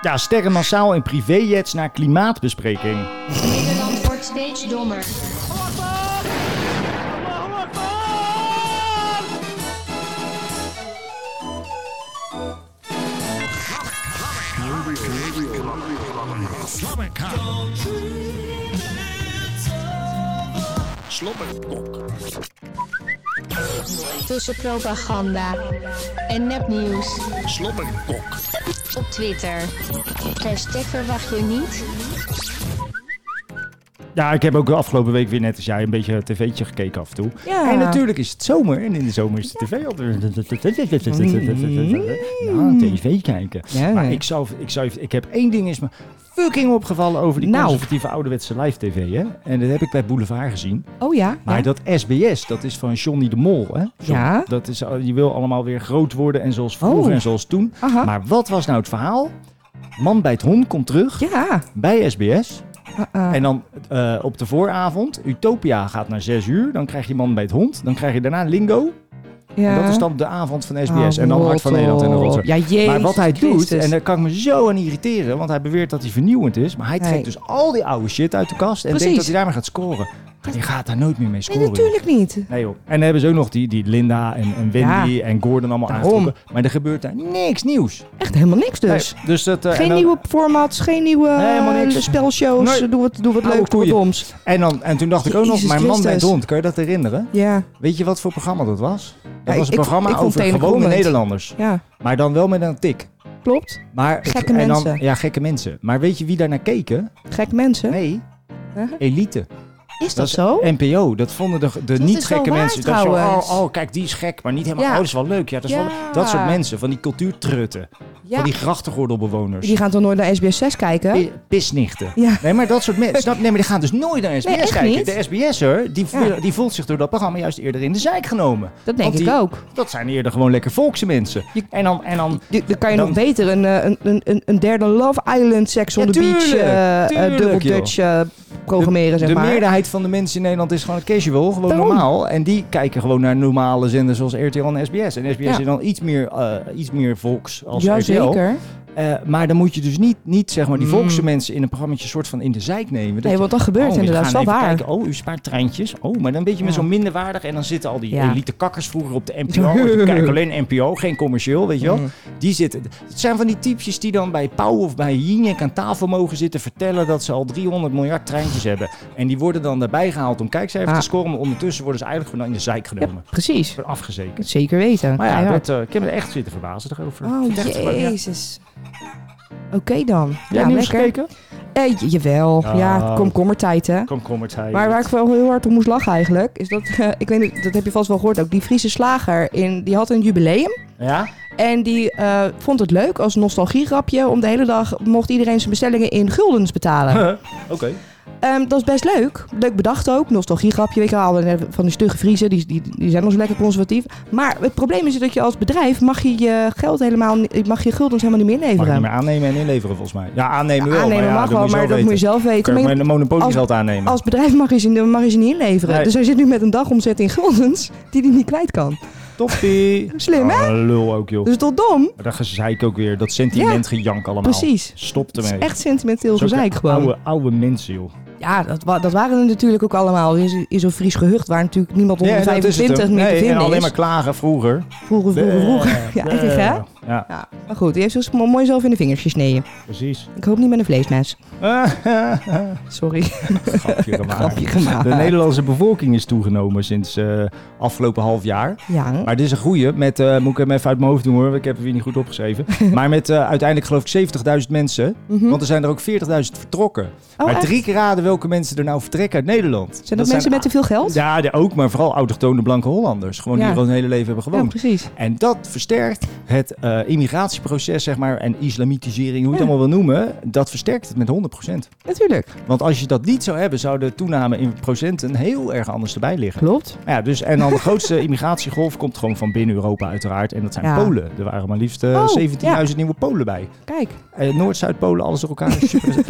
A: Ja, sterren massaal in privéjets naar klimaatbespreking.
D: Nederland wordt steeds dommer. Tussen propaganda en nepnieuws.
B: Slobberkok.
D: Op Twitter. Hashtag verwacht je niet.
A: Ja, ik heb ook de afgelopen week weer net als jij een beetje een tv'tje gekeken af en toe.
C: Ja.
A: En natuurlijk is het zomer en in de zomer is de tv altijd... Ja, tv kijken.
C: Mm. Ja.
A: Maar ik, zou, ik, zou, ik heb één ding is me fucking opgevallen over die
C: Nou.
A: conservatieve ouderwetse live tv. Hè? En dat heb ik bij Boulevard gezien.
C: Oh ja.
A: Maar
C: ja.
A: dat SBS, dat is van Johnny de Mol. Hè? John,
C: Ja.
A: Dat is, je wil allemaal weer groot worden en zoals vroeger
C: Oh.
A: en zoals toen.
C: Aha.
A: Maar wat was nou het verhaal? Man bij het hond komt terug
C: Ja.
A: bij SBS.
C: Uh-uh.
A: En dan eh, op de vooravond, Utopia gaat naar 6 uur. Dan krijg je man bij het hond. Dan krijg je daarna Lingo.
C: ja.
A: En dat is dan de avond van
C: Ah,
A: SBS. en dan Hart van
C: rot
A: Nederland en de
C: op.
A: Rotter.
C: Ja, jezus
A: Maar wat hij doet,
C: Christus.
A: en daar kan ik me zo aan irriteren, want hij beweert dat hij vernieuwend is. Maar hij trekt
C: Nee.
A: dus al die oude shit uit de kast en
C: Precies.
A: denkt dat hij daarmee gaat scoren. Maar die gaat daar nooit meer mee
C: Nee,
A: scoren.
C: natuurlijk niet.
A: Nee, joh. En dan hebben ze ook nog die, die Linda en, en Wendy
C: Ja.
A: en Gordon allemaal
C: Daarom.
A: aangetrokken. Maar er gebeurt daar niks nieuws.
C: Echt helemaal niks dus.
A: Nee, dus dat, eh,
C: geen
A: en dan-
C: nieuwe formats, geen nieuwe
A: Nee, helemaal niks.
C: eh, spelshows.
A: Nee.
C: Doe wat, doe wat
A: Oude
C: leuks, doe
A: koeien.
C: wat doms.
A: En, dan, en toen dacht ik ook nog,
C: Jezus
A: mijn man bij het
C: Christus.
A: hond, kan je dat herinneren?
C: Ja,
A: Weet je wat voor programma dat was? Dat
C: Ja,
A: was een
C: ik-
A: programma
C: ik vond
A: over
C: Tene
A: gewone
C: Grommend.
A: Nederlanders.
C: ja,
A: Maar dan wel met een tik.
C: klopt.
A: Maar,
C: Gekke
A: en dan,
C: mensen.
A: Ja, gekke mensen. Maar weet je wie daar naar keken?
C: Gek mensen.
A: Nee,
C: Huh?
A: elite.
C: Is dat, zo?
A: NPO, dat vonden de, de
C: is dus
A: niet gekke
C: wel waar,
A: mensen. Dat is zo,
C: trouwens.
A: oh, oh, kijk, die is gek, maar niet helemaal.
C: Ja.
A: Oh, dat is wel leuk. Ja, dat, is
C: Ja.
A: wel, dat soort mensen, van die cultuurtrutten.
C: Ja.
A: Van
C: Die...
A: die grachtengordelbewoners.
C: gaan toch nooit naar SBS 6 kijken?
A: Pi- Pisnichten.
C: Ja.
A: Nee, maar dat soort mensen. Snap je? Nee, maar die gaan dus nooit naar SBS
C: Nee, echt
A: kijken.
C: niet.
A: De SBS'er, die,
C: Ja.
A: die voelt zich door dat programma juist eerder in de zijk genomen.
C: Dat denk
A: Want
C: ik
A: die-
C: ook.
A: Dat zijn eerder gewoon lekker volkse mensen.
C: Je-
A: En dan... En dan
C: Je- Dan kan je
A: dan-
C: nog beter een, eh, een, een- een, een derde Love Island, Sex on
A: Ja,
C: the Beach,
A: tuurlijk,
C: eh, eh,
A: tuurlijk,
C: Double
A: joh.
C: Dutch eh, programmeren,
A: de
C: zeg maar.
A: meerderheid van de mensen in Nederland is gewoon casual, gewoon
C: Daarom.
A: normaal. En die kijken gewoon naar normale zenders zoals RTL en SBS. En SBS
C: Ja.
A: is dan iets meer, eh, iets meer volks als
C: ja,
A: RTL.
C: zeker.
A: Eh, maar dan moet je dus niet, niet zeg maar, die
C: Mm.
A: volkse mensen in een programma soort van in de zijk nemen. Dat
C: Nee,
A: je-
C: want dat gebeurt
A: Oh, we
C: inderdaad. Dat
A: gaan
C: is wel
A: even
C: waar.
A: Kijken. Oh, u spaart treintjes. Oh, maar dan weet je met
C: Ja.
A: zo'n minderwaardig. En dan zitten al die
C: Ja.
A: elite kakkers vroeger op de NPO. en die kijken alleen NPO, geen commercieel, weet je
C: Mm.
A: wel. Die zitten... Het zijn van die typjes die dan bij Pauw of bij Jinek aan tafel mogen zitten vertellen... dat ze al 300 miljard treintjes hebben. En die worden dan daarbij gehaald om kijkcijfers
C: Ah.
A: te scoren. Maar ondertussen worden ze eigenlijk gewoon in de zijk
C: Ja,
A: genomen.
C: precies.
A: Worden Afgezekerd.
C: Zeker weten.
A: Maar ja,
C: Keihard.
A: dat, eh, ik heb me er echt zitten verbazen erover.
C: Oh,
A: Echt verbaasd. Ja.
C: jezus. Oké dan.
A: Jij
C: Ja,
A: nieuws
C: lekker.
A: gekeken?
C: Eh, j- jawel,
A: Oh.
C: ja, komkommertijd hè.
A: Komkommert, hij.
C: Maar waar ik wel heel hard om moest lachen eigenlijk, is dat, eh, ik weet niet, dat heb je vast wel gehoord ook, die Friese slager, in, die had een jubileum.
A: Ja?
C: En die eh, vond het leuk als nostalgierapje, om de hele dag mocht iedereen zijn bestellingen in guldens betalen.
A: Oké.
C: Ehm, dat is best leuk. Leuk bedacht ook. Nostalgiegrapje. Weet je wel, we hebben van die stugge Friesen, die, die, die zijn nog zo lekker conservatief. Maar het probleem is dat je als bedrijf mag je je geld helemaal, ni- mag je guldens helemaal niet meer
A: Mag ik
C: inleveren.
A: niet meer aannemen en inleveren volgens mij. Ja, aannemen wel.
C: Aannemen
A: maar ja,
C: mag
A: dat
C: wel,
A: moet je
C: maar dat moet je
A: weten.
C: zelf weten.
A: Kun je
C: Maar
A: met een monopoliegeld
C: als-
A: geld aannemen.
C: als bedrijf mag je ze, mag je ze niet inleveren.
A: Nee.
C: Dus hij zit nu met een dagomzet in guldens die hij niet kwijt kan.
A: Toppie.
C: Slim, hè?
A: Oh, een lul ook, joh.
C: Dus tot dom.
A: Maar dat zei ik ook weer. Dat sentiment gejank allemaal.
C: Precies.
A: Stop
C: Het is
A: ermee.
C: echt sentimenteel
A: Zulke
C: gezeik gewoon.
A: Oude, oude mensen, joh.
C: Ja, dat, wa- dat waren er natuurlijk ook allemaal. In zo- in zo'n Fries gehucht waar natuurlijk niemand onder de
A: dat is het,
C: 25
A: hè.
C: meer te
A: Nee, en
C: vinden
A: alleen
C: is.
A: maar klagen vroeger.
C: Vroeger, vroeger, vroeger. Ja,
A: Nee.
C: echt hè?
A: Ja,
C: Ja, maar goed, die heeft zich mooi zelf in de vingers gesneden.
A: precies.
C: Ik hoop niet met een vleesmes. Sorry.
A: Grapje gemaakt.
C: Grapje gemaakt.
A: De Nederlandse bevolking is toegenomen sinds eh, afgelopen half jaar.
C: Ja.
A: Maar dit is een goeie. Met, eh, moet ik hem even uit mijn hoofd doen hoor. want Ik heb hem weer niet goed opgeschreven. maar met eh, uiteindelijk geloof ik 70.000 mensen.
C: Mhm.
A: Want er zijn er ook 40.000 vertrokken.
C: Oh,
A: maar
C: echt?
A: drie keer raden welke mensen er nou vertrekken uit Nederland.
C: Zijn dat, mensen met te veel geld?
A: Ja, de- ook. Maar vooral autochtone blanke Hollanders. Gewoon
C: Ja.
A: die gewoon hun hele leven hebben
C: Ja,
A: gewoond.
C: precies.
A: en dat versterkt het eh, immigratieproces, zeg maar, en islamitisering, hoe je het allemaal wil noemen. Dat versterkt het met 100%.
C: Natuurlijk.
A: Want als je dat niet zou hebben, zou de toename in procenten heel erg anders erbij liggen.
C: Klopt.
A: Ja, dus, en dan de grootste immigratiegolf komt gewoon van binnen Europa uiteraard. En dat zijn
C: Ja.
A: Polen. Er waren maar liefst eh,
C: Oh,
A: 17.000 nieuwe Polen bij.
C: Kijk,
A: Eh, Noord, Zuid, Polen, alles door elkaar. Super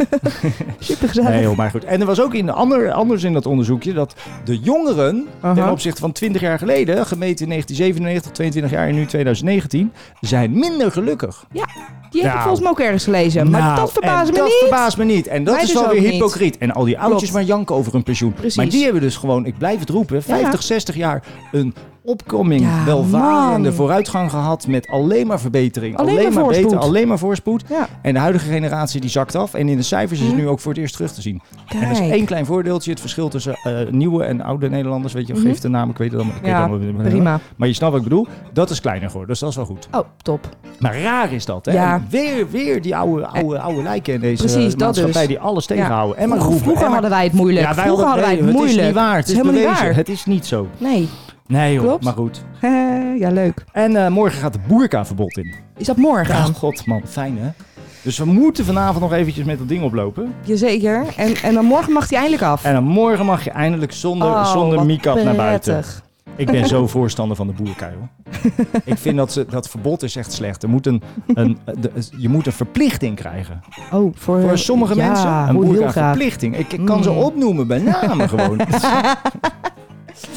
C: super gezellig.
A: nee, joh, maar goed. En er was ook in, ander, anders in dat onderzoekje dat de jongeren ten
C: Aha.
A: opzichte van 20 jaar geleden, gemeten in 1997, 22 jaar en nu 2019, zijn minder gelukkig.
C: die heb ik
A: Nou.
C: volgens mij ook ergens gelezen. maar
A: Nou,
C: dat verbaast
A: en
C: me
A: dat
C: niet.
A: verbaast me niet. En dat
C: Mij
A: is
C: dus
A: wel
C: ook
A: weer
C: niet.
A: hypocriet. En al die oudjes
C: Klopt.
A: maar janken over hun pensioen.
C: Precies.
A: Maar die hebben dus gewoon, ik blijf het roepen, 50, 60 jaar een opkoming,
C: Ja,
A: welvarende
C: man.
A: vooruitgang gehad met alleen maar verbetering.
C: Alleen
A: Alleen,
C: maar
A: maar, beter,
C: voorspoed.
A: alleen maar voorspoed.
C: Ja, Hm.
A: En de huidige generatie die zakt af. En in de cijfers is het nu ook voor het eerst terug te zien. En dat is
C: kijk.
A: één klein voordeeltje. Het verschil tussen eh, nieuwe en oude Nederlanders. Weet je, geef de naam, ik weet het allemaal. Ik
C: Hm. Ja,
A: weet het allemaal
C: Prima.
A: Maar je snapt wat ik bedoel. Dat is kleiner geworden, dus dat is wel goed.
C: Oh, top.
A: Maar raar is dat, hè?
C: Ja. Eh,
A: En weer, weer die oude, oude, oude lijken in deze
C: Precies, dat
A: maatschappij
C: dus.
A: die alles
C: Ja.
A: tegenhouden. En maar
C: Vroeger-
A: goed,
C: vroeger
A: en maar-
C: hadden wij het moeilijk.
A: Ja, wij
C: Vroeger
A: hadden
C: hadden wij het
A: nee, Het is
C: moeilijk.
A: niet waar. Het is,
C: Het is helemaal niet
A: bewezen.
C: waar.
A: Het is niet zo.
C: Nee.
A: Nee joh,
C: Klopt.
A: maar goed.
C: Eh, ja, leuk.
A: En eh, morgen gaat de boerkaverbod in.
C: Is dat morgen?
A: Ja, god man, fijn hè. Dus we moeten vanavond nog eventjes met dat ding oplopen.
C: Jazeker. En, en dan morgen mag die eindelijk af.
A: En dan morgen mag je eindelijk zonder,
C: Oh,
A: zonder
C: wat
A: make-up naar buiten.
C: prettig.
A: Ik ben zo voorstander van de boerkui, hoor. Ik vind dat ze, dat verbod is echt slecht. Er moet een, een, de- je moet een verplichting krijgen.
C: Oh, voor,
A: Voor sommige
C: ja,
A: mensen een
C: hoe heel
A: boerka
C: graag.
A: verplichting. Ik ik kan ze
C: Mm.
A: opnoemen bij naam gewoon.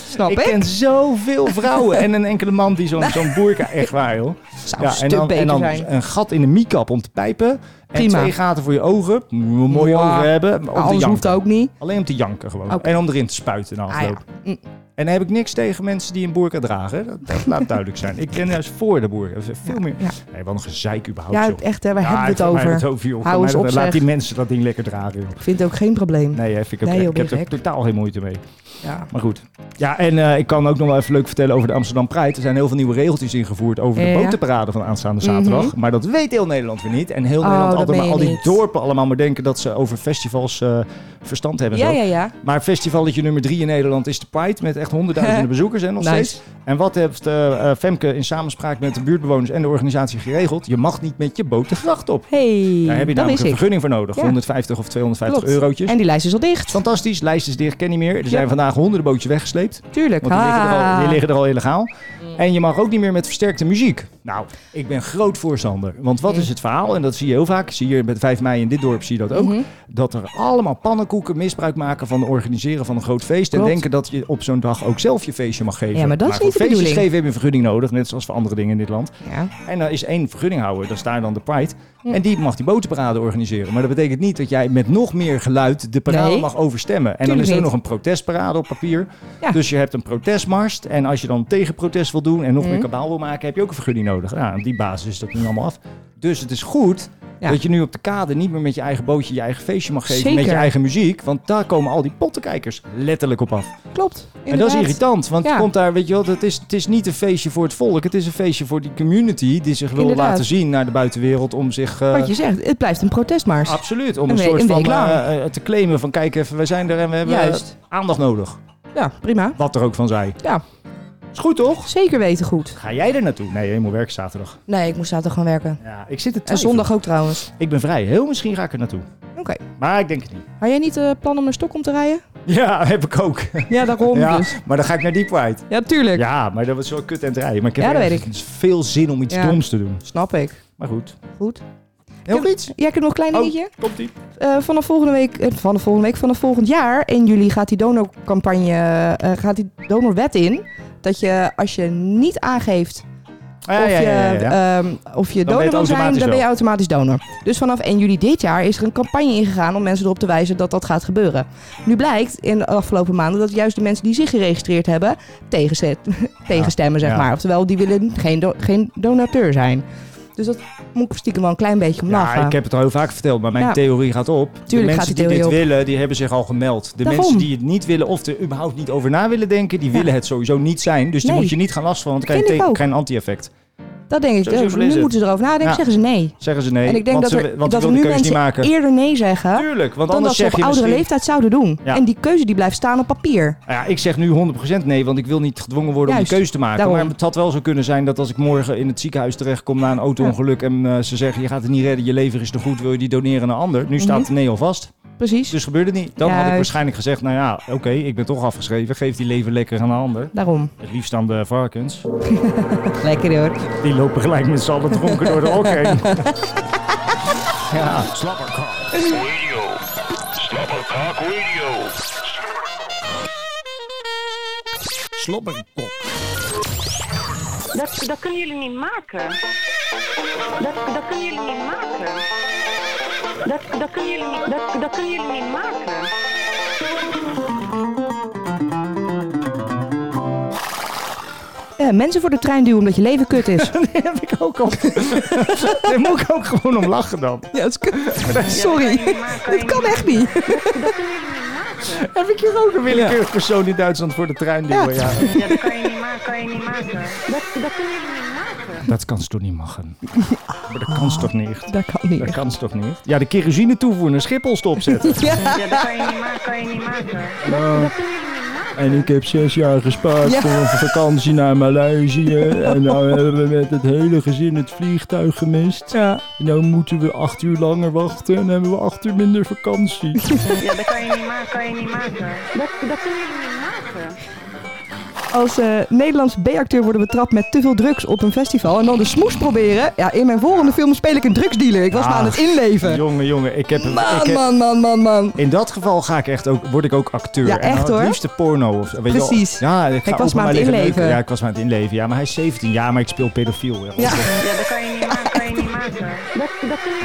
C: Snap
A: ik
C: ik?
A: ken zoveel vrouwen en een enkele man die zo'n zo'n boerka... Echt waar, joh.
C: Zou een
A: Ja, en
C: Nou, stuk
A: dan,
C: beter
A: en dan
C: zijn.
A: een gat in de miekap om te pijpen. En
C: Prima.
A: twee gaten voor je ogen. Moet je mooie
C: Ja,
A: ogen hebben. maar om te
C: Nou, Anders hoeft
A: janken.
C: het ook niet.
A: Alleen om te janken gewoon.
C: Oké.
A: En om erin te spuiten na
C: Ah, ja.
A: afloop.
C: Mm.
A: En daar heb ik niks tegen mensen die een boerka dragen. Dat, dat laat duidelijk zijn. Ik ben juist voor de boerka. Veel meer...
C: ja.
A: Nee, wat een gezeik überhaupt,
C: Ja,
A: joh.
C: echt, hè, waar
A: Ja,
C: hebben we
A: voor
C: het
A: mij
C: over?
A: het over, joh.
C: Hou
A: Voor
C: eens
A: mij
C: op,
A: dat- Laat die
C: zeg.
A: mensen dat ding lekker dragen, joh.
C: Ik vind het ook geen probleem.
A: Nee, hè, vind ik, ook-
C: Nee, joh,
A: ik heb
C: ben
A: er
C: je gek.
A: totaal geen moeite mee.
C: Ja.
A: Maar goed. Ja, en eh, ik kan ook nog wel even leuk vertellen over de Amsterdam Pride. Er zijn heel veel nieuwe regeltjes ingevoerd over de
C: Ja. Mhm.
A: botenparade van aanstaande zaterdag. Maar dat weet heel Nederland weer niet. En heel
C: Oh,
A: Nederland
C: dat
A: altijd maar
C: meen
A: al
C: je
A: die
C: niet.
A: dorpen allemaal maar denken dat ze over festivals eh, verstand hebben. en
C: Ja,
A: zo.
C: ja, ja.
A: Maar festivalletje nummer drie in Nederland is de Pride met echt honderdduizenden bezoekers en nog
C: Nice.
A: steeds. En wat heeft eh, eh, Femke in samenspraak met de buurtbewoners en de organisatie geregeld? Je mag niet met je boot de gracht op.
C: Hey,
A: Daar heb je
C: dat
A: namelijk
C: wist
A: een
C: ik.
A: vergunning voor nodig.
C: Ja.
A: 150 of 250
C: Klopt.
A: eurotjes.
C: En die lijst is al dicht.
A: Fantastisch, lijst is dicht, ken niet meer. Er zijn
C: Ja.
A: vandaag honderden bootjes weggesleept.
C: Tuurlijk.
A: Want die liggen, er al, die
C: Ah. Mm.
A: liggen er al illegaal. En je mag ook niet meer met versterkte muziek. Nou, ik ben groot voorstander. Want
C: Mm.
A: wat is het verhaal? En dat zie je heel vaak. Zie je met 5 mei in dit dorp zie je dat ook.
C: Mm-hmm.
A: Dat er allemaal pannenkoeken misbruik maken van het organiseren van een groot feest. En
C: Klopt.
A: denken dat je op zo'n dag ook zelf je feestje mag geven.
C: Ja, maar dat is niet
A: voor
C: de
A: feestjes
C: bedoeling.
A: geven heb je een vergunning nodig. Net zoals voor andere dingen in dit land.
C: Ja.
A: En daar is één vergunninghouder, dat is daar dan de Pride. En die mag die botenparade organiseren. Maar dat betekent niet dat jij met nog meer geluid de parade
C: Nee.
A: mag overstemmen. En dan
C: Tuurlijk
A: is er ook
C: niet.
A: nog een protestparade op papier.
C: Ja.
A: Dus je hebt een protestmars. En als je dan tegenprotest wil doen en nog
C: Mhm.
A: meer kabaal wil maken, heb je ook een vergunning nodig. Nou, op die basis is dat nu allemaal af. Dus het is goed
C: Ja.
A: dat je nu op de kade niet meer met je eigen bootje je eigen feestje mag geven. Met
C: Zeker.
A: je eigen muziek. Want daar komen al die pottenkijkers letterlijk op af.
C: Klopt.
A: En dat is
C: inderdaad.
A: irritant, want
C: Ja.
A: komt daar, weet je wel, het is, het is niet een feestje voor het volk. Het is een feestje voor die community die zich wil
C: Inderdaad.
A: laten zien naar de buitenwereld om zich... eh, Ah,
C: Wat je zegt, het blijft een protestmars.
A: Absoluut, om
C: Een
A: een,
C: we-
A: soort
C: een
A: van
C: week lang.
A: eh, eh, te claimen van kijk even, wij zijn er en we hebben eh,
C: Juist.
A: aandacht nodig.
C: Ja, prima.
A: Wat er ook van zij.
C: Ja,
A: Is goed toch?
C: zeker weten goed.
A: Ga jij er naartoe? Nee, je moet werken zaterdag.
C: Nee, ik moest zaterdag gaan werken.
A: Ja, ik zit het
C: En zondag ook trouwens.
A: Ik ben vrij, heel misschien ga ik er naartoe.
C: Oké.
A: Maar ik denk het niet.
C: Had jij niet eh, plan om naar Stockholm te rijden?
A: Ja, heb ik ook.
C: Ja, daarom
A: Ja,
C: dus.
A: maar dan ga ik naar die Pride.
C: Ja, tuurlijk.
A: Ja, maar dat was wel kut en het rijden. Maar ik heb
C: Ja, dat
A: echt
C: weet ik.
A: veel zin om iets
C: Ja.
A: doms te doen.
C: Snap ik.
A: Maar goed.
C: Goed.
A: Heel iets?
C: Ja, ik heb nog een klein
A: Oh.
C: dingetje.
A: Komt ie.
C: Eh, vanaf volgende week, eh, vanaf volgende week, vanaf volgend jaar, 1 juli, gaat die donorcampagne, eh, gaat die donorwet in. Dat je, als je niet aangeeft
A: Ja,
C: of,
A: ja, ja, ja,
C: je,
A: ja.
C: ehm, of
A: Dan ben je
C: je
A: het
C: donor wil zijn,
A: automatisch
C: dan ben je
A: wel.
C: automatisch donor. Dus vanaf 1 juli dit jaar is er een campagne ingegaan om mensen erop te wijzen dat dat gaat gebeuren. Nu blijkt in de afgelopen maanden dat juist de mensen die zich geregistreerd hebben tegenzet, tegenstemmen, zeg
A: ja.
C: maar. Oftewel, die willen geen, do- geen donateur zijn. Dus dat moet ik stiekem wel een klein beetje om
A: Ja,
C: lachen.
A: ik heb het al heel vaak verteld, maar mijn
C: Ja.
A: theorie gaat op. de
C: Tuurlijk
A: mensen
C: gaat die
A: die dit
C: theorie
A: willen, die hebben zich al gemeld. De
C: Daarom.
A: mensen die het niet willen of er überhaupt niet over na willen denken, die
C: Ja.
A: willen het sowieso niet zijn. Dus die
C: Nee.
A: moet je niet gaan lasten, want dan krijg
C: Vind
A: je
C: ik
A: tegen-
C: ook.
A: krijg je een anti-effect.
C: Dat denk ik. eh,
A: Zo simpel is
C: nu
A: het.
C: moeten ze erover nadenken,
A: Ja.
C: zeggen ze nee.
A: Zeggen ze nee,
C: en ik denk
A: want
C: dat
A: ze,
C: er,
A: want
C: dat
A: ze
C: er
A: willen
C: nu
A: de keuze niet
C: mensen
A: maken.
C: eerder nee zeggen
A: Tuurlijk, want
C: dan dat
A: anders
C: ze
A: zeg
C: op
A: je
C: oudere
A: misschien...
C: leeftijd zouden doen.
A: Ja.
C: En die keuze die blijft staan op papier.
A: Nou Ja, ik zeg nu 100% nee, want ik wil niet gedwongen worden om
C: Juist,
A: die keuze te maken.
C: daarom.
A: Maar het had wel zo kunnen zijn dat als ik morgen in het ziekenhuis terechtkom na een auto-ongeluk... en eh, ze zeggen, je gaat het niet redden, je lever is te goed, wil je die doneren aan een ander? Nu
C: Mhm.
A: staat het nee al vast.
C: Precies.
A: Dus gebeurde het niet. Dan had ik
C: Juist.
A: waarschijnlijk gezegd, nou ja, oké, ik ben toch afgeschreven. Geef die lever lekker aan een ander.
C: Daarom.
A: Het liefst aan de varkens.
C: Lekker hoor.
A: Die lopen gelijk met z'n allen dronken door de hok heen. ja.
B: Radio. Slobberkok Radio.
A: Slobberkok.
L: Dat, dat kunnen jullie niet maken. Dat, dat kunnen jullie niet maken. Dat, dat, kunnen jullie niet, dat, dat kunnen jullie niet maken.
C: Eh, mensen voor de trein duwen omdat je leven kut is.
A: Die heb ik ook al. Daar moet ik ook gewoon om lachen dan.
C: Ja, dat is kut. Sorry. Dat kan echt niet.
L: Dat kunnen jullie niet maken.
A: Heb ik hier ook een willekeurig persoon in Duitsland voor de trein duwen? Ja.
L: Ja, dat kan je niet maken, kan je niet maken. Dat, dat kunnen jullie niet maken.
A: Dat kan ze toch niet maken? Maar dat kan ze toch niet?
C: Dat kan niet.
A: Dat kan ze toch niet? Ja, de kerosine toevoegen, een schiphol stopzetten.
L: Ja, dat kan je niet maken, kan je niet maken.
A: Nou, en ik heb zes jaar gespaard
L: Ja.
A: voor een vakantie naar Maleisië. En nou hebben we met het hele gezin het vliegtuig gemist. En nou moeten we acht uur langer wachten en hebben we acht uur minder vakantie.
L: Ja, dat kan je niet maken, kan je niet maken. Dat, dat kunnen jullie niet maken.
C: Als eh, Nederlands B-acteur worden betrapt met te veel drugs op een festival en dan de smoes proberen. Ja, in mijn volgende film speel ik een drugsdealer. Ik was me aan het inleven.
A: Jongen, jongen, ik heb...
C: Man,
A: Ah. ik eh, heb-
C: man, man, man, man.
A: In dat geval ga ik echt ook, word ik ook acteur.
C: Ja,
A: En dan
C: echt,
A: Het
C: hoor.
A: liefste porno. Of, weet je wel.
C: Precies.
A: Ja, ik, ga
C: was
A: ook
C: maar aan het
A: liggen neuken.
C: inleven.
A: Ja, ik was maar aan het inleven. Ja, maar hij is 17 jaar, maar ik speel pedofiel. Ja.
L: Ja, dat kan je niet maken, kan je niet maken. Dat, dat kunnen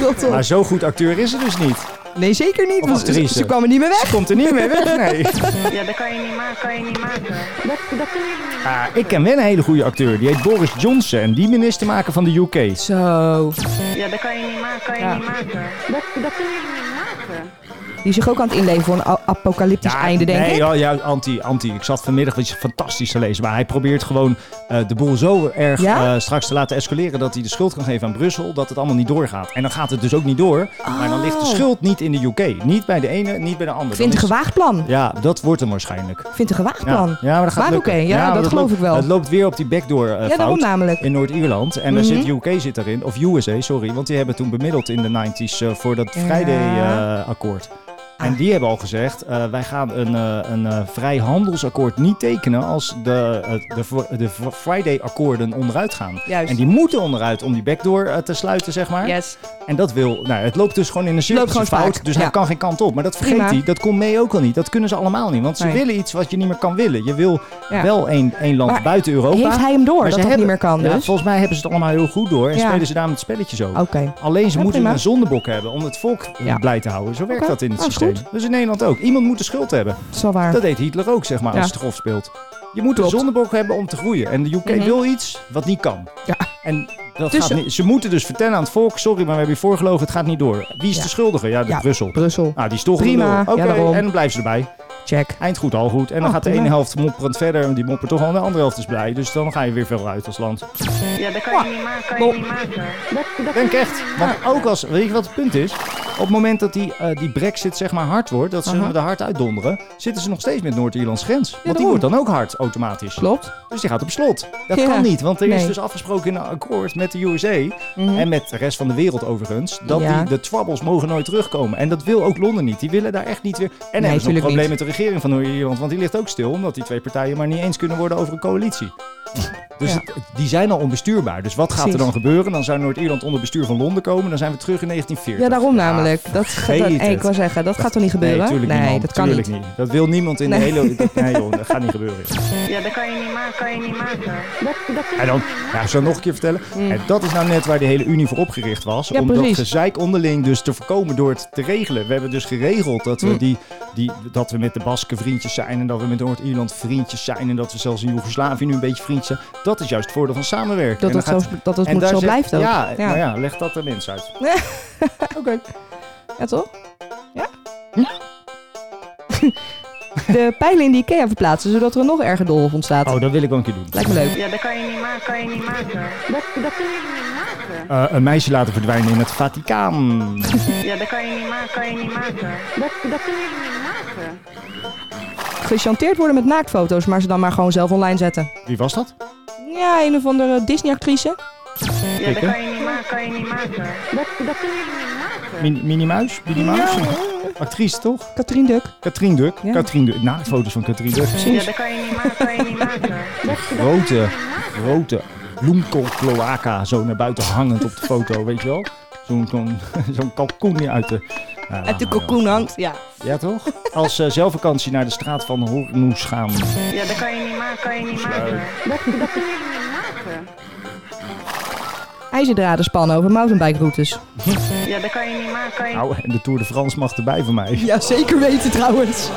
L: jullie niet maken.
A: Maar zo goed acteur is ze dus niet.
C: Nee, zeker niet.
A: Of actrice.
C: Ze, ze kwam er niet meer weg.
A: Ze komt er niet meer weg, nee.
L: Ja, dat kan je niet maken, kan je niet maken. Dat, dat kunnen jullie niet
A: Ah, ik ken wel een hele goede acteur. Die heet Boris Johnson. En die minister maken van de UK.
C: Zo.
L: Ja, dat kan je niet maken, kan je niet maken. Dat, dat kunnen jullie niet maken.
C: Die is zich ook aan het inleven voor een a- apocalyptisch einde, denk
A: nee,
C: ik.
A: ja, ja, anti, anti. Ik zat vanmiddag iets fantastisch te lezen. Maar hij probeert gewoon eh, de boel zo erg
C: Ja?
A: eh, straks te laten escaleren... dat hij de schuld kan geven aan Brussel, dat het allemaal niet doorgaat. En dan gaat het dus ook niet door. Maar dan ligt de
C: Oh.
A: schuld niet in de UK. Niet bij de ene, niet bij de andere.
C: Ik
A: Dan
C: vind het een
A: is-
C: gewaagd plan.
A: Ja, dat wordt hem waarschijnlijk.
C: Ik vind het een gewaagd
A: Ja,
C: plan.
A: ja maar dat gaat
C: maar oké,
A: lukken.
C: ja,
A: maar
C: dat,
A: dat
C: geloof
A: loopt-
C: ik wel.
A: Het loopt weer op die backdoor eh,
C: ja, daarom
A: fout.
C: namelijk.
A: In Noord-Ierland. En daar
C: Mhm.
A: zit UK zit erin. Of USA, sorry. Want die hebben toen bemiddeld in de 90s eh, voor dat
C: Ja. Ah.
A: Friday-akkoord. en die hebben al gezegd, eh, wij gaan een, eh, een eh, vrijhandelsakkoord niet tekenen als de, eh, de, v- de v- Friday-akkoorden onderuit gaan.
C: Juist.
A: En die moeten onderuit om die backdoor eh, te sluiten, zeg maar.
C: Yes.
A: En dat wil, nou, het loopt dus gewoon in een
C: Loopt
A: cirkel
C: gewoon
A: fout,
C: spaak,
A: dus
C: ja.
A: hij kan geen kant op. Maar dat vergeet
C: Prima.
A: hij, dat kon mee ook al niet. Dat kunnen ze allemaal niet, want ze
C: Nee.
A: willen iets wat je niet meer kan willen. Je wil
C: Ja.
A: wel één, één land
C: Maar
A: buiten Europa.
C: heeft hij hem door,
A: maar
C: dat
A: ze
C: dat
A: hebben-
C: niet meer kan,
A: Ja,
C: dus?
A: volgens mij hebben ze het allemaal heel goed door en
C: Ja.
A: spelen ze daarom het spelletje zo.
C: Oké.
A: Alleen ze
C: Ja,
A: moeten
C: prima.
A: een zondebok hebben om het volk eh,
C: Ja.
A: blij te houden. Zo werkt
C: Oké.
A: dat in het
C: Oh, is
A: systeem.
C: goed.
A: Dus in Nederland ook. Iemand moet de schuld hebben.
C: Dat is wel waar.
A: Dat deed Hitler ook, zeg maar,
C: Ja.
A: als het grof speelt. Je moet een
C: Klopt.
A: zondebok hebben om te groeien. En de UK
C: Mhm.
A: wil iets wat niet kan.
C: Ja.
A: En dat
C: Dus
A: gaat
C: ze-
A: niet. Ze moeten dus vertellen aan het volk: sorry, maar we hebben je voorgelogen, het gaat niet door. Wie is
C: Ja.
A: de schuldige? Ja, de
C: Ja,
A: Brussel.
C: Brussel.
A: Nou, die is toch
C: Prima,
A: een lul. Oké,
C: ja, daarom.
A: en dan blijven ze erbij.
C: Check.
A: Eind goed, al goed. En dan
C: Oh,
A: gaat de
C: prima.
A: ene helft mopperend verder. En die moppert toch al. En de andere helft is blij. Dus dan ga je weer veel uit als land.
L: Ja, dat kan je niet maken, kan je niet maken. Dat, dat
A: Denk echt. Want ook als, weet je wat het punt is? Op het moment dat die, eh, die brexit zeg maar hard wordt, dat ze
C: Aha.
A: hem er hard uitdonderen, zitten ze nog steeds met Noord-Ierlands grens. Want die
C: daarom.
A: wordt dan ook hard automatisch.
C: Klopt.
A: Dus die gaat op slot. Dat
C: Ja.
A: kan niet, want er is
C: Nee.
A: dus afgesproken in een akkoord met de USA
C: Mhm.
A: en met de rest van de wereld overigens, dat
C: Ja.
A: die, de twabbels mogen nooit terugkomen. En dat wil ook Londen niet. Die willen daar echt niet weer... En dan hebben ze nog een
C: tuurlijk
A: probleem met
C: niet.
A: de regering van Noord-Ierland, want die ligt ook stil, omdat die twee partijen maar niet eens kunnen worden over een coalitie. Dus
C: Ja.
A: het- het- die zijn al onbestuurbaar. Dus wat gaat er
C: Precies.
A: dan gebeuren? Dan zou Noord-Ierland onder bestuur van Londen komen. Dan zijn we terug in 1940.
C: Ja, daarom namelijk. Dat, gaat,
A: vergeet
C: dat, hey, ik
A: het.
C: wou zeggen, dat gaat toch niet
A: Nee,
C: gebeuren?
A: tuurlijk niet, man.
C: dat kan
A: Tuurlijk
C: niet.
A: Dat wil niemand in
C: Nee.
A: de hele... dat- Nee joh, dat gaat niet gebeuren.
L: Ja, dat kan je niet maken, kan je niet maken. Dat, dat kunnen
A: En dan, ja, ik zal nog een keer vertellen. En dat is nou net waar de hele Unie voor opgericht was.
C: Mm. Ja,
A: om dat
C: precies.
A: gezeik onderling dus te voorkomen door het te regelen. We hebben dus geregeld dat we,
C: Mm.
A: die, die, dat we met de Basken vriendjes zijn. En dat we met Noord-Ierland vriendjes zijn. En dat we zelfs in Joegoslavië nu een beetje vriendjes zijn. Dat is juist het voordeel van samenwerken.
C: Dat
A: En dan
C: het zo, dat het
A: en
C: moet
A: daar
C: zo
A: zit-
C: blijft ook.
A: Ja,
C: Ja.
A: nou ja, leg dat er eens uit.
C: Oké. Ja, toch? Ja?
A: Hm?
C: De pijlen in de IKEA verplaatsen, zodat er een nog erger doolhof ontstaat.
A: Oh, dat wil ik wel een keer doen.
C: Lijkt me leuk.
L: Ja, dat kan je niet maken, kan je niet maken. Dat, dat kunnen jullie niet maken.
A: Eh, een meisje laten verdwijnen in het Vaticaan.
L: Ja, dat kan je niet maken, kan je niet maken. Dat, dat kunnen jullie niet maken.
C: Gechanteerd worden met naaktfoto's, maar ze dan maar gewoon zelf online zetten.
A: Wie was dat?
C: Ja, een of andere Disney-actrice.
L: Ja, dat
A: Kikken.
L: kan je niet maken, kan je niet maken. Dat, dat kunnen jullie niet maken.
A: Min Minimuis? Minimuis? Actrice toch?
C: Katrien Duk.
A: Katrien Duk.
C: Ja.
A: Katrien Duk. Naaktfoto's van Katrien Duk.
L: Ja, dat kan je niet maken, kan je niet maken. Dat,
A: grote, grote bloemkoolcloaca zo naar buiten hangend op de foto, weet je wel? Zo'n zo'n zo'n kalkoen die uit de... Nou,
C: Uit de
A: nou,
C: cocoon hangt, ja.
A: Ja, toch? Als eh, zelfvakantie naar de straat van Hornoes gaan.
L: ja, dat kan je niet maken, kan je niet maken. Dat, dat kunnen jullie niet maken.
C: IJzerdraden spannen over mountainbikeroutes.
L: Ja, dat kan je niet maken, kan je
A: Nou, en de Tour de France mag erbij voor mij.
C: Ja, zeker weten trouwens.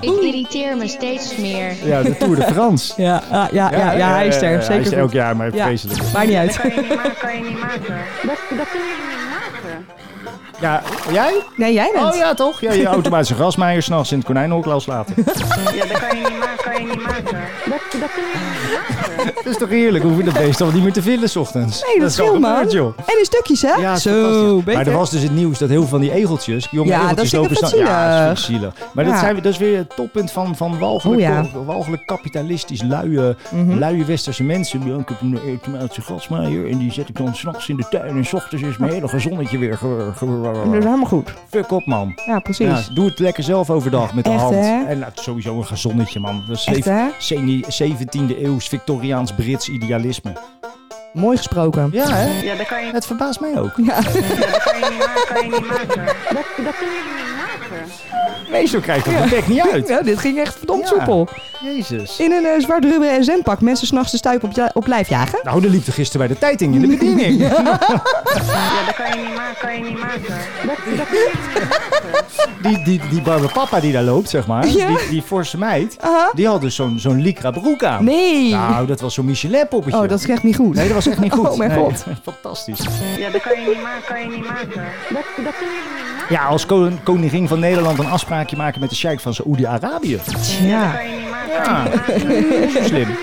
D: Ik irriteer me steeds meer.
A: Ja, de Tour de France.
C: Ja, ah, ja, ja, ja, hij is
A: eh,
C: er.
A: eh, hij is
C: Zeker
A: elk jaar, maar vreselijk.
C: Maakt niet
L: Dat
C: uit.
L: kan je niet maken, kan je niet maken. Dat, dat kunnen jullie niet maken.
A: Ja, jij?
C: Nee, jij bent.
A: Oh ja, toch? Ja, je automatische grasmaaier s'nachts in het konijnenhok laat laten.
L: Ja, dat kan je niet maken. Kan je niet maken. Dat, dat kun je niet maken.
A: Dat is toch heerlijk? Hoef je dat beest toch niet meer te vinden 's ochtends?
C: Nee, dat,
A: is wel
C: scheelt man.
A: gebeurd, joh.
C: En in stukjes, hè?
A: Ja,
C: Zo,
A: Maar er was dus het nieuws dat heel veel van die egeltjes, jonge
C: Ja, dat
A: egeltjes
C: vind ik wat
A: staan- Ja, dat is
C: zielig.
A: ook zielig. Maar
C: eh, Ja.
A: dat, zijn, we- dat is weer het toppunt van, van walgelijk,
C: Oh, ja. Mhm.
A: wa- walgelijk kapitalistisch luie, luie westerse mensen. Ja, ik heb een automatische gasmaaier en die zet ik dan s'nachts in de tuin en s ochtends is mijn hele gezonnetje weer. ge- ge-
C: Dat is helemaal goed.
A: Fuck op, man.
C: Ja, precies.
A: Ja, doe het lekker zelf overdag met de
C: Echt,
A: hand.
C: hè?
A: En nou, het is sowieso een gezonnetje, man. Dat is
C: Echt,
A: zeven-
C: hè?
A: zeni- 17e eeuws Victoriaans-Brits idealisme.
C: Mooi gesproken.
A: Ja, hè?
L: Ja, dat kan je,
A: Het verbaast mij ook.
C: Ja.
L: dat kan je niet maken. Kan je niet maken. Dat, dat kun je niet maken.
A: Meestal krijgt dat de bek niet uit.
C: Ja, dit ging echt verdomd
A: Ja.
C: soepel.
A: Jezus.
C: In een eh, zwart rubber en zendpak mensen s'nachts de stuip op, je- op lijf jagen.
A: Nou, er liep er gisteren bij de tijd in de bediening.
L: Ja, dat kan je niet maken. Kan je niet maken. Dat, dat kun je niet maken.
A: Die, die, die barbe papa die daar loopt, zeg maar.
C: Ja.
A: Die, die forse meid.
C: Aha.
A: Die had dus zo'n zo'n lycra broek aan.
C: Nee.
A: Nou, dat was zo'n Michelin poppetje.
C: Oh, dat is echt niet goed.
A: Nee, dat was echt niet goed.
C: Oh, mijn
A: Nee.
C: god.
A: Fantastisch.
L: Ja, dat kan je niet maken. Kan je niet maken. Dat, dat kun je niet maken.
A: Ja, als kon- koningin van Nederland een afspraakje maken met de sheik van Saoedi-Arabië.
C: Ja.
L: Kan je niet maken.
A: Ja, zo slim.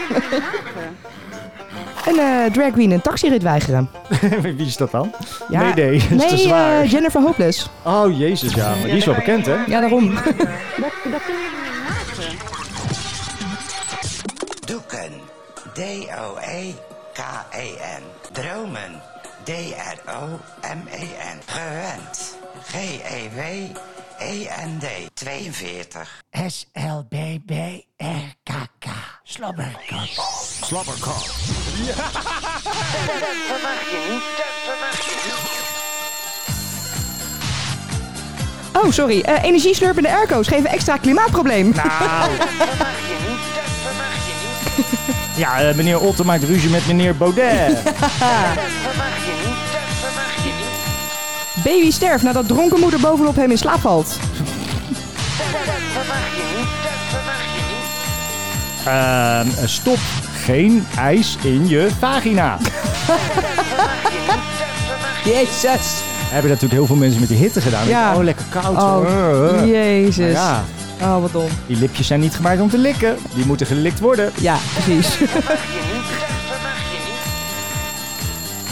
C: Een eh, drag queen een taxirit weigeren.
A: Wie is dat dan?
C: Ja.
A: Nee, nee, dat is
C: Nee,
A: te zwaar.
C: eh, Jennifer Hopeless.
A: Oh, jezus, ja. Maar die is wel bekend, hè?
C: Ja, daarom.
L: Dat, dat kun je niet maken.
K: Doeken. E D-O-E-K-E-N. Dromen. D-R-O-M-E-N. E Gewend. E G-E-W-E-N-D. 42. S-L-B-B-R-K-K. Slobberkok. Slobberkok.
C: Oh, sorry. Eh energieslurpende airco's geven extra klimaatprobleem.
A: Nou. Ja, eh, meneer Otte maakt ruzie met meneer Baudet.
C: Baby sterft nadat dronken moeder bovenop hem in slaap valt.
A: Ehm, stop geen ijs in je vagina.
C: Jezus.
A: Hebben natuurlijk heel veel mensen met die hitte gedaan.
C: Ja.
A: Oh, lekker koud. Eh,
C: Oh,
A: eh.
C: jezus.
A: Ja,
C: Oh, wat dom.
A: die lipjes zijn niet gemaakt om te likken. Die moeten gelikt worden.
C: Ja, precies.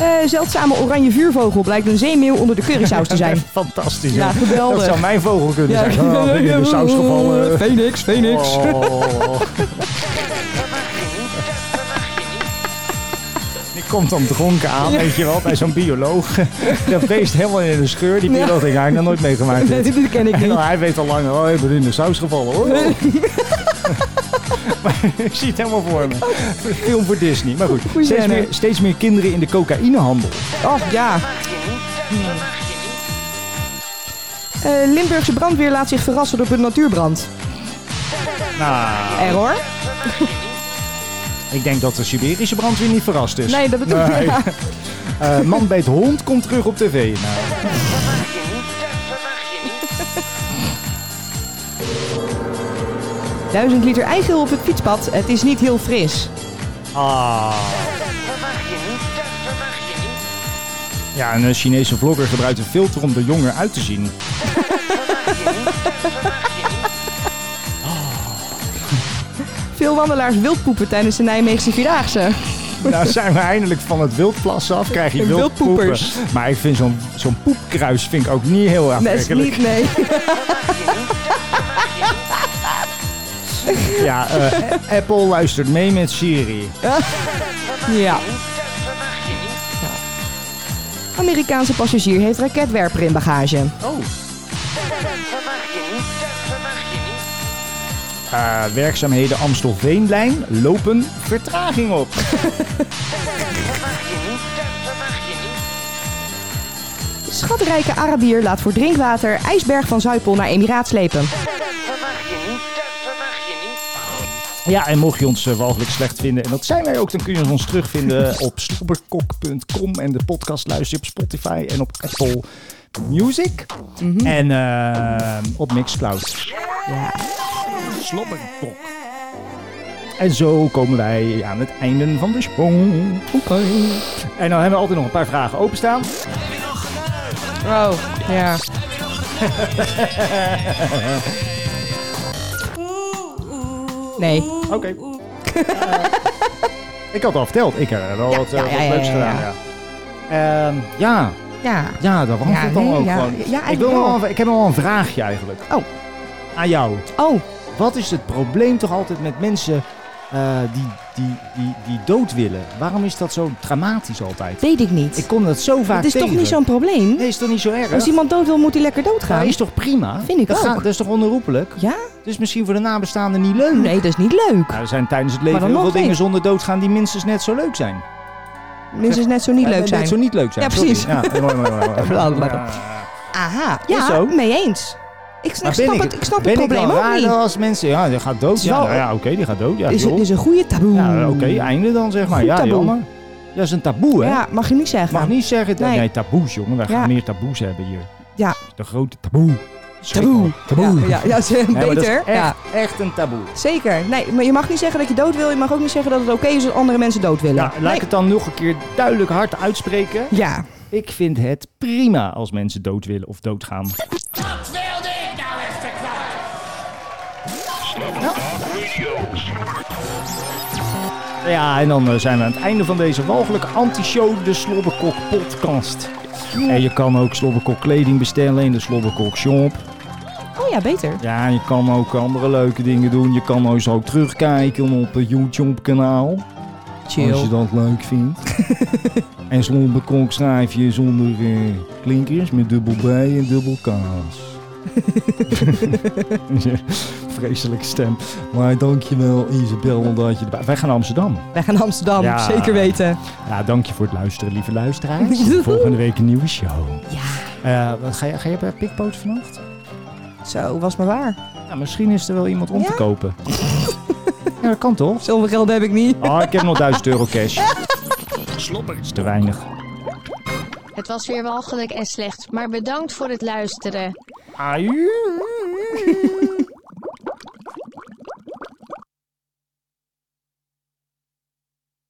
C: Eh, zeldzame oranje vuurvogel blijkt een zeemeeuw onder de currysaus te zijn.
A: Fantastisch.
C: Ja,
A: hè?
C: geweldig.
A: Dat zou mijn vogel kunnen zijn. Oh, ben in de saus gevallen.
C: Phoenix, Phoenix.
A: Oh. Die komt dan dronken aan, weet je wel, bij zo'n bioloog. Dat beest helemaal in de scheur. Die bioloog denkt, hij heeft nog nooit meegemaakt.
C: Nee,
A: dit.
C: dit ken ik
A: En dan,
C: niet.
A: hij weet al lang, oh, ik ben in de saus gevallen hoor. maar ik zie het helemaal voor me. Film voor Disney. Maar goed,
C: Goeie
A: steeds
C: scène.
A: meer, steeds meer kinderen in de cocaïnehandel.
C: Oh, ja. Eh, Limburgse brandweer laat zich verrassen door een natuurbrand.
A: Nou,
C: Error?
A: ik denk dat de Siberische brandweer niet verrast is.
C: Nee, dat bedoel ik.
A: Nee.
C: Ja.
A: Eh, man bij het hond komt terug op tv. Nou,
C: Duizend liter eigeel op het fietspad. Het is niet heel fris.
A: ah. Ja, een eh, Chinese vlogger gebruikt een filter om er jonger uit te zien.
C: Veel wandelaars wildpoepen tijdens de Nijmeegse Vierdaagse.
A: Nou zijn we eindelijk van het wildplas af, krijg je
C: Een
A: wildpoepen.
C: wildpoepers.
A: Maar ik vind zo'n zo'n poepkruis vind ik ook niet heel
C: Nee, is
A: aantrekkelijk.
C: niet, nee.
A: Ja, eh, Apple luistert mee met Siri.
C: Ja. Amerikaanse passagier heeft raketwerper in bagage.
A: Oh. Eh, werkzaamheden Amstelveenlijn lopen vertraging op.
C: Schatrijke Arabier laat voor drinkwater ijsberg van Zuipel naar Emiraat slepen.
A: Ja, en mocht je ons eh, walgelijk slecht vinden, en dat zijn wij ook, dan kun je ons terugvinden op slobberkok.com en de podcast luister je op Spotify en op Apple Music. En eh, op Mixcloud.
C: Mhm. Ja.
A: Slobberkok. En zo komen wij aan het einde van de sprong.
C: Oké.
A: En dan hebben we altijd nog een paar vragen openstaan.
C: Oh, ja. Nee.
A: Oké. Eh, Ik had al verteld, ik heb wel wat, eh,
C: ja,
A: wat
C: ja, ja,
A: leuks
C: ja,
A: gedaan.
C: ja.
A: Ja. Ehm, ja.
C: Ja.
A: ja, dat was
C: Ja,
A: het dan
C: nee,
A: ook
C: ja.
A: gewoon.
C: Ja, eigenlijk
A: ik, wil nog
C: wel.
A: wel- ik heb nog wel een vraagje eigenlijk.
C: Oh.
A: Aan jou.
C: Oh.
A: Wat is het probleem toch altijd met mensen eh, die, die, die, die dood willen? Waarom is dat zo dramatisch altijd?
C: Weet ik niet.
A: Ik kom dat zo vaak
C: Het is toch
A: tegen.
C: niet zo'n probleem?
A: Nee, is toch niet zo erg?
C: Als iemand dood wil, moet hij lekker doodgaan.
A: Ja, is toch prima?
C: Vind ik
A: dat
C: ook.
A: gaat- dat is toch onherroepelijk?
C: Ja?
A: Dus misschien voor de nabestaanden niet leuk?
C: Nee, dat is niet leuk.
A: Nou, er zijn tijdens het
C: Maar
A: leven
C: dan
A: heel
C: nog
A: veel dingen
C: niet.
A: zonder doodgaan die minstens net zo leuk zijn.
C: Minstens net zo niet
A: Ja,
C: leuk zijn.
A: Net zo niet leuk zijn.
C: Ja, precies.
A: Sorry. Ja, mooi, mooi, mooi, mooi.
C: Aha,
A: Is
C: ja,
A: zo.
C: mee eens. Ik,
A: Maar
C: ik snap,
A: ben
C: het, ik snap
A: ben
C: het probleem
A: ik wel
C: ook
A: raar
C: niet.
A: dat als mensen, ja, die gaat dood.
C: is wel-
A: Ja, nou ja oké, die gaat dood. Ja,
C: is,
A: joh.
C: is een goede taboe.
A: Ja, oké, einde dan zeg maar.
C: Goed
A: ja,
C: taboe.
A: jammer. Ja, dat is een taboe, hè?
C: Ja, mag je niet zeggen.
A: Mag niet zeggen... Nee,
C: Nee.
A: nee taboes, jongen. Wij gaan
C: Ja.
A: meer taboes hebben hier.
C: Ja.
A: De grote taboe.
C: Taboe.
A: Taboe.
C: Ja, ja, ja, is, eh,
A: Nee, maar dat is
C: beter.
A: echt,
C: Ja.
A: echt een taboe.
C: Zeker. Nee, maar je mag niet zeggen dat je dood wil. Je mag ook niet zeggen dat het oké is dat andere mensen dood willen.
A: Nou, laat ik het dan nog een keer duidelijk hard uitspreken.
C: Ja.
A: Ik vind het prima als mensen dood willen of doodgaan.
G: Dat wilde ik nou echt
A: Ja, en dan eh, zijn we aan het einde van deze walgelijk anti-show, de Slobberkok podcast. En je kan ook Slobberkok kleding bestellen in de Slobberkok shop.
C: Oh ja, beter.
A: Ja, je kan ook andere leuke dingen doen. Je kan ons ook terugkijken op het YouTube kanaal.
C: Chill.
A: Als je dat leuk vindt. en Slobberkok schrijf je zonder eh, klinkers met dubbel B en dubbel K's. Vreselijke stem. Maar dankjewel Isabel dat je erbij... Wij gaan naar Amsterdam.
C: Wij gaan naar Amsterdam,
A: Ja.
C: zeker weten.
A: Ja, Nou, dank je voor het luisteren, lieve luisteraars. Volgende week een nieuwe show. Ja. wat, ga, je, ga je bij Pickpoot vannacht?
C: Zo, was maar waar.
A: Ja, misschien is er wel iemand om te kopen. ja, dat kan toch?
C: Zoveel geld heb ik niet.
A: Oh, ik heb nog 1000 euro cash.
G: Slobber.
A: Dat is te weinig.
D: Het was weer walgelijk en slecht, maar bedankt voor het luisteren.
A: Aju.